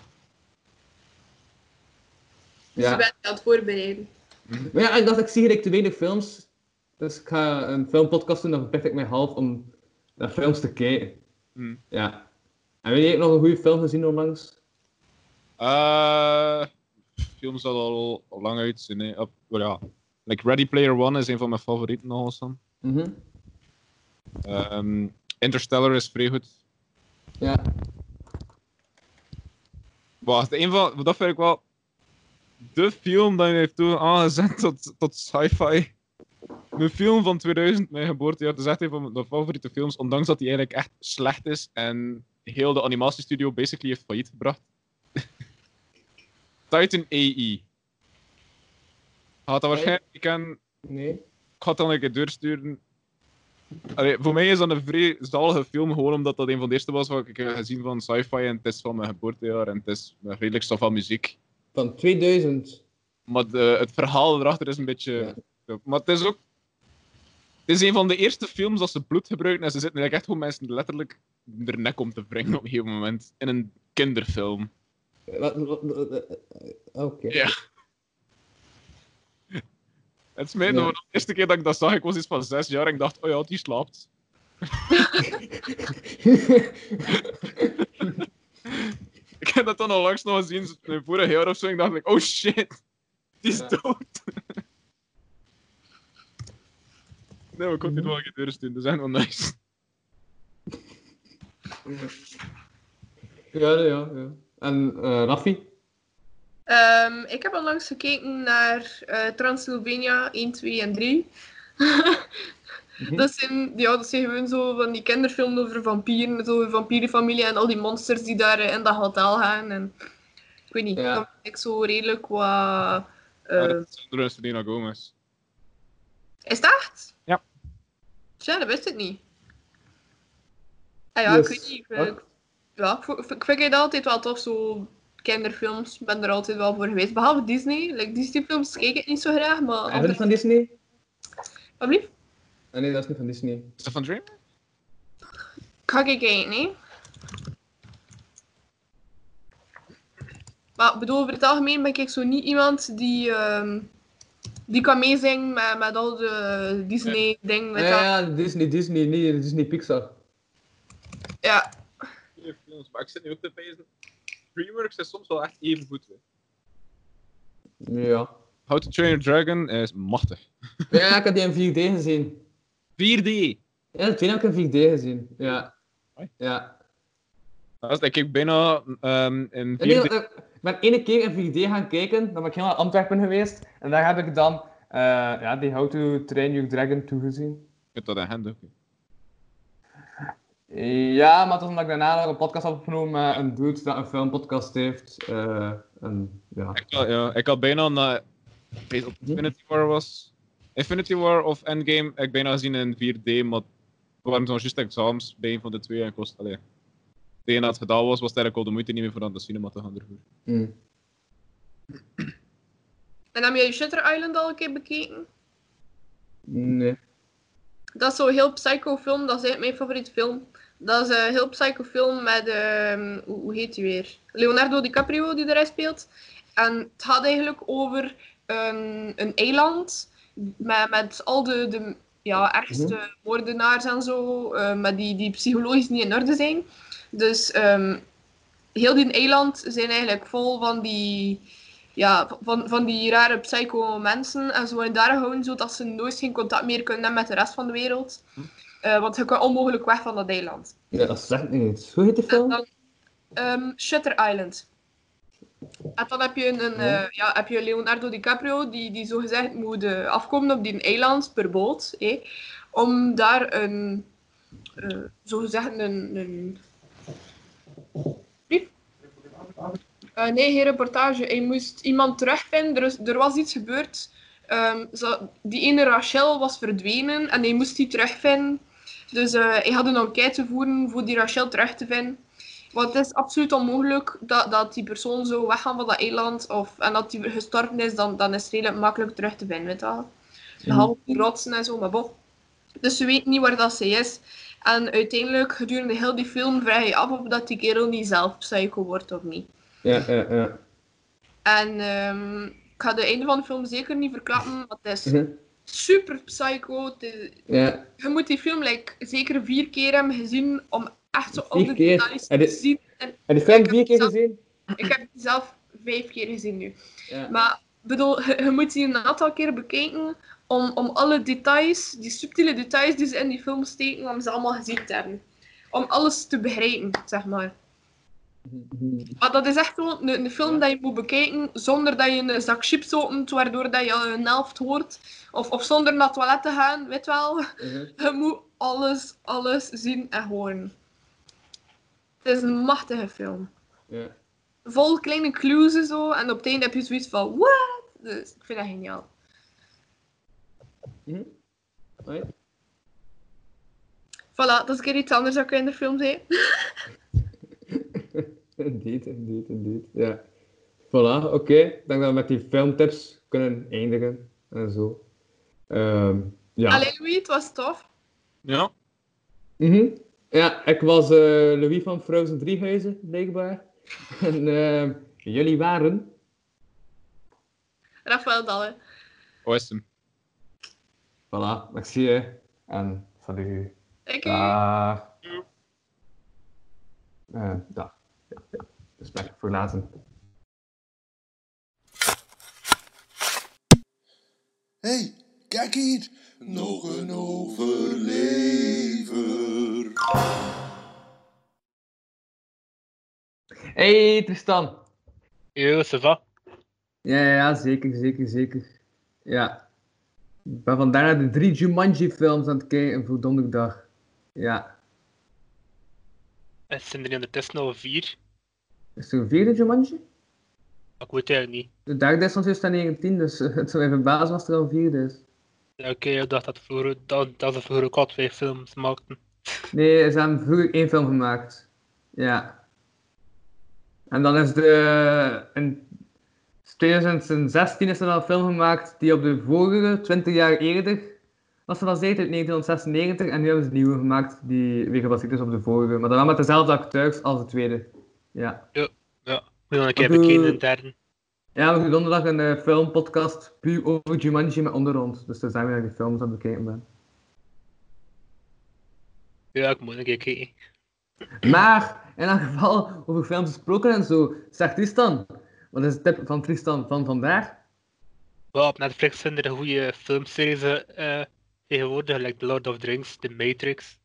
[SPEAKER 4] Dus je
[SPEAKER 3] Ja.
[SPEAKER 4] bent aan het voorbereiden.
[SPEAKER 3] Maar ja, ik dacht, ik zie gelijk te weinig films. Dus ik ga een filmpodcast doen, dan verplicht ik mij half om naar films te kijken.
[SPEAKER 5] hm.
[SPEAKER 3] Ja. En weet je, ik heb nog een goede film gezien onlangs?
[SPEAKER 5] Eh, films dat al, al lang uit zijn. hè. Op- wel ja. Like Ready Player One is een van mijn favorieten nog eens dan.
[SPEAKER 3] Mhm.
[SPEAKER 5] Ehm, Interstellar is vrij goed.
[SPEAKER 3] Ja.
[SPEAKER 5] Wacht, een van, dat vind ik wel. De film die mij heeft toen aangezet tot, tot sci-fi. Een film van 2000, mijn geboortejaar. Dat is echt een van mijn favoriete films. Ondanks dat die eigenlijk echt slecht is en heel de animatiestudio basically heeft failliet gebracht. Titan AI. Gaat dat waarschijnlijk. Ik kan
[SPEAKER 3] Nee.
[SPEAKER 5] ik ga het dan een keer doorsturen. Allee, voor mij is dat een vrij zalige film, gewoon omdat dat een van de eerste was wat ik heb gezien van sci-fi. En het is van mijn geboortejaar en het is redelijk stof van muziek.
[SPEAKER 3] Van 2000.
[SPEAKER 5] Maar de- het verhaal erachter is een beetje... Maar het is ook... Het is een van de eerste films dat ze bloed gebruiken en ze zitten eigenlijk echt gewoon mensen letterlijk er nek om te wringen op een gegeven moment. In een kinderfilm.
[SPEAKER 3] Wat- wat- wat- eh, eh, Oké.
[SPEAKER 5] Ja. Het spijt me,
[SPEAKER 3] Ja.
[SPEAKER 5] maar de eerste keer dat ik dat zag, ik was iets van zes jaar en ik dacht, oh ja, die slaapt. Ik heb dat dan al langs nog gezien, eh, vorig jaar of zo. En ik dacht, like, oh shit, die is
[SPEAKER 3] Ja.
[SPEAKER 5] dood. nee, we konden dit wel een keer doorsturen, dat is echt wel nice.
[SPEAKER 3] ja, ja, ja, ja. En eh Raffi?
[SPEAKER 4] Ehm, ik heb onlangs gekeken naar eh Transylvania 1, 2 en 3. dat, zijn, ja, dat zijn gewoon zo van die kinderfilms over vampieren, met over vampierenfamilie en al die monsters die daar eh, in dat hotel gaan. En, ik weet niet,
[SPEAKER 3] Ja.
[SPEAKER 4] dan ben ik zo redelijk wat... eh,
[SPEAKER 5] Ja, Ah, dat is door Selena Gomez.
[SPEAKER 4] Is dat echt?
[SPEAKER 5] Ja.
[SPEAKER 4] Tja, dat wist ik niet. Ah ja,
[SPEAKER 3] Yes.
[SPEAKER 4] ik weet niet. Ik,
[SPEAKER 3] Wat?
[SPEAKER 4] ik- ja, ik, vo- ik vind het altijd wel tof, zo kinderfilms. Ik ben er altijd wel voor geweest. Behalve Disney. Like, Disney-films kijk ik niet zo graag, maar...
[SPEAKER 3] Ah, dat
[SPEAKER 4] Andere... Oh,
[SPEAKER 3] is van Disney?
[SPEAKER 4] Alsjeblieft.
[SPEAKER 3] Ah, nee, dat is niet van Disney.
[SPEAKER 5] Is dat van Dream?
[SPEAKER 4] Kagekei, nee. Maar ik bedoel, over het algemeen ben ik zo niet iemand die, ehm, die kan meezingen met, met al de Disney-dingen.
[SPEAKER 3] Ja, Ah, ja, Disney, Disney, nee, Disney Pixar.
[SPEAKER 4] ja,
[SPEAKER 5] Films, maar ik zit nu ook te pezen. DreamWorks is soms wel echt even goed. hè.
[SPEAKER 3] Ja.
[SPEAKER 5] How to Train Your Dragon is machtig.
[SPEAKER 3] Ja, ik had die in 4D gezien.
[SPEAKER 5] 4D!
[SPEAKER 3] Ja, de tweede heb ik in 4D gezien. Ja.
[SPEAKER 5] Hoi.
[SPEAKER 3] Ja.
[SPEAKER 5] Dat is denk ik bijna ehm in 4D.
[SPEAKER 3] Ik, denk dat ik ben één keer in 4D gaan kijken, dan ben ik helemaal in Antwerpen geweest. En daar heb ik dan eh, ja, die How to Train Your Dragon toegezien.
[SPEAKER 5] Ik vind dat een hand ook. hè.
[SPEAKER 3] Ja, maar toen omdat ik daarna nog een podcast had opgenomen met een dude dat een filmpodcast heeft. eh, en, ja.
[SPEAKER 5] Ik had, ja, ik had bijna na. Ik weet dat het Infinity War was. Infinity War of Endgame, ik bijna gezien in 4D, maar we waren zo'n juist examens bij een van de twee en kost. Allee. Het ene dat het gedaan was, was het eigenlijk al de moeite niet meer voor aan de cinema te gaan ervoor.
[SPEAKER 3] Mm.
[SPEAKER 4] En heb jij Shutter Island al een keer bekeken?
[SPEAKER 3] Nee.
[SPEAKER 4] Dat is zo'n heel psycho film, dat is echt mijn favoriete film. Dat is een heel psycho film met, ehm, hoe, hoe heet hij weer? Leonardo DiCaprio die erin speelt. En het gaat eigenlijk over een, een eiland met, met al de, de ja, ergste moordenaars en zo, eh, maar die, die psychologisch niet in orde zijn. Dus ehm, heel die eiland zijn eigenlijk vol van die, ja, van, van die rare psycho mensen. En ze worden daar gehouden zodat ze nooit geen contact meer kunnen hebben met de rest van de wereld. Eh, want je kan onmogelijk weg van dat eiland.
[SPEAKER 3] Ja, dat zegt me niets. Hoe heet die film?
[SPEAKER 4] Dan, ehm, Shutter Island. En dan heb je, een, een,
[SPEAKER 3] Ja.
[SPEAKER 4] eh, ja, heb je Leonardo DiCaprio, die, die zogezegd moet eh, afkomen op die eiland per boot. eh, om daar een, eh zogezegd een, een Eh, nee, geen reportage. Hij moest iemand terugvinden. Er, is- er was iets gebeurd. Ehm, ze- die ene Rachel was verdwenen en hij moest die terugvinden. Dus eh, hij had een enquête te voeren voor die Rachel terug te vinden. Want het is absoluut onmogelijk dat, dat die persoon zou weggaan van dat eiland. Of, en dat die gestorven is, dan, dan is het redelijk makkelijk terug te vinden. Weet je
[SPEAKER 3] Mm.
[SPEAKER 4] wel. Behalve die rotsen en zo, maar bon. Dus ze weet niet waar dat ze is. En uiteindelijk, gedurende heel die film, vraag je je af of dat die kerel niet zelf psycho wordt of niet.
[SPEAKER 3] Ja, ja, ja.
[SPEAKER 4] En ehm, ik ga de einde van de film zeker niet verklappen, want het is
[SPEAKER 3] Mhm.
[SPEAKER 4] super psycho. Het is-
[SPEAKER 3] Ja,
[SPEAKER 4] je moet die film like, zeker vier keer hebben gezien om echt zo al
[SPEAKER 3] Vier
[SPEAKER 4] de
[SPEAKER 3] keer?
[SPEAKER 4] details
[SPEAKER 3] En dit-
[SPEAKER 4] te zien. En
[SPEAKER 3] en die film
[SPEAKER 4] Ik heb
[SPEAKER 3] vier keer
[SPEAKER 4] zelf-
[SPEAKER 3] gezien?
[SPEAKER 4] ik heb die zelf vijf keer gezien nu.
[SPEAKER 3] Ja.
[SPEAKER 4] Maar bedoel, je, je moet die een aantal keer bekijken om, om alle details, die subtiele details die ze in die film steken, om ze allemaal gezien te hebben. Om alles te begrijpen, zeg maar.
[SPEAKER 3] Mhm.
[SPEAKER 4] Maar dat is echt wel een, een film dat je moet bekijken zonder dat je een zak chips opent, waardoor dat je een helft hoort. Of, of zonder naar het toilet te gaan, weet wel.
[SPEAKER 3] Mhm.
[SPEAKER 4] Je moet alles, alles zien en horen. Het is een machtige film.
[SPEAKER 3] Ja.
[SPEAKER 4] Vol kleine clues en zo, en op het einde heb je zoiets van, what? Dus ik vind dat geniaal.
[SPEAKER 3] Mhm. Hoi.
[SPEAKER 4] Voilà, dat is een keer iets anders dan ik in de film zei.
[SPEAKER 3] Indeed, indeed, indeed. Ja. Voilà, oké. Ik denk dat we met die filmtips kunnen eindigen en zo. Ehm, ja.
[SPEAKER 4] Alleen Louis, het was tof.
[SPEAKER 5] Ja,
[SPEAKER 3] Mhm. Ja, ik was eh, Louis van Frozen Driehuizen, blijkbaar. En ehm, jullie waren.
[SPEAKER 4] Rafael Dalle.
[SPEAKER 5] OSM.
[SPEAKER 3] Voilà, ik zie je. En salut.
[SPEAKER 4] Dank u.
[SPEAKER 3] Dag. Eh, dag. Ja, ja. Respect voor laten.
[SPEAKER 1] hey, kijk hier. Nog een overlever.
[SPEAKER 3] Hey Tristan.
[SPEAKER 7] Yo, ça va?
[SPEAKER 3] Ja, ja, ja, zeker, zeker, zeker. Ja. Ik ben vandaag naar de drie Jumanji-films aan het kijken voor donderdag. Ja.
[SPEAKER 7] Het zijn er ondertussen al vier.
[SPEAKER 3] Is er een vierde Jumanji?
[SPEAKER 7] Maar Ik weet het eigenlijk niet.
[SPEAKER 3] De derde is van 2019, dus eh, het zou even verbazen als er al een vierde is.
[SPEAKER 7] Ja, Oké, ik dacht dat, vroeger, dat, dat ze vroeger ook al twee films maakten.
[SPEAKER 3] Nee, ze hebben vroeger één film gemaakt. Ja. En dan is de... In 2016 is er dan een film gemaakt die op de vorige, 20 jaar eerder, was gebaseerd uit 1996. En nu hebben ze een nieuwe gemaakt die weer gebaseerd is op de vorige. Maar dan wel met dezelfde acteurs als de tweede. Ja.
[SPEAKER 7] Moet je dan een keer
[SPEAKER 3] Wat, eh,
[SPEAKER 7] bekijken, de derde.
[SPEAKER 3] Ja, we doen donderdag een eh, filmpodcast puur over Jumanji met onder ons. Dus daar zijn we naar die films aan het bekijken ben.
[SPEAKER 7] Ja, ik moet een keer kijken.
[SPEAKER 3] Maar, in elk geval, over films gesproken en zo, zegt Tristan. Wat is de tip van Tristan van vandaag?
[SPEAKER 7] Wel, op Netflix zijn er goede filmseries eh, eh, tegenwoordig, like The Lord of the Rings, The Matrix.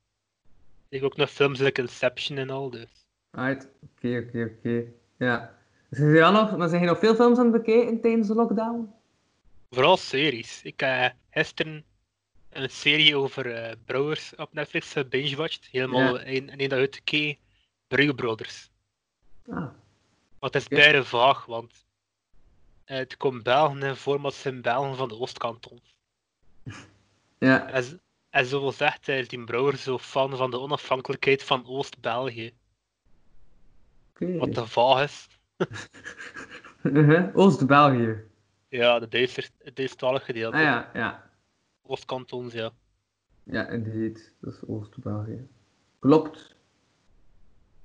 [SPEAKER 7] Ik heb ook nog films like Inception en al, dus.
[SPEAKER 3] Right, oké, oké, oké. Ja. Zijn er nog, maar zijn er nog veel films aan het bekijken tijdens de lockdown?
[SPEAKER 7] Vooral series. Ik heb gisteren een serie over eh, brouwers op Netflix eh, binge-watched. Helemaal
[SPEAKER 3] Ja.
[SPEAKER 7] in één dag uitgekeken. Brouwbrothers.
[SPEAKER 3] Ah,
[SPEAKER 7] Want het is
[SPEAKER 3] Oké.
[SPEAKER 7] bijna vaag, want eh, het komt Belgen in vorm als in Belgen van de Oostkanton.
[SPEAKER 3] ja.
[SPEAKER 7] En, z- en zoals zegt, eh, is die brouwer zo fan van de onafhankelijkheid van Oost-België.
[SPEAKER 3] Oké.
[SPEAKER 7] Wat de vaag is.
[SPEAKER 3] Uh-huh. Oost-België.
[SPEAKER 7] Ja, de Duitsers, het Duitsstalig gedeelte.
[SPEAKER 3] Ah ja, ja.
[SPEAKER 7] Oostkantons, ja.
[SPEAKER 3] Ja, inderdaad. Dat is Oost-België. Klopt.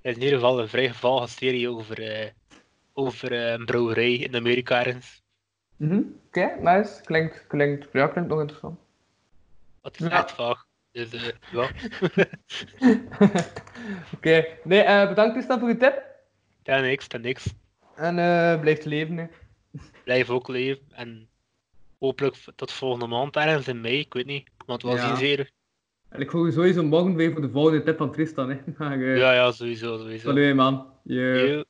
[SPEAKER 7] Het is in ieder geval een vrij gevallige serie over, eh, over eh, een brouwerij in Amerika ergens.
[SPEAKER 3] Mhm. Oké, nice. Klinkt, klinkt, ja, klinkt nog interessant.
[SPEAKER 7] Het is
[SPEAKER 3] Ja.
[SPEAKER 7] echt vaag. Dus eh, ja,
[SPEAKER 3] Oké, nee, eh, bedankt Tristan voor je tip.
[SPEAKER 7] ten niks, ten niks.
[SPEAKER 3] En eh blijf leven nu.
[SPEAKER 7] Blijf ook leven. En hopelijk v- tot volgende maand ergens in mei, ik weet niet. Want we
[SPEAKER 3] Ja.
[SPEAKER 7] zien zeer.
[SPEAKER 3] En ik vroeg je sowieso morgen weer voor de volgende tip van Tristan. Hè. Maar, eh,
[SPEAKER 7] Ja, ja, sowieso, sowieso.
[SPEAKER 3] Salut man. Yo.
[SPEAKER 7] Yo.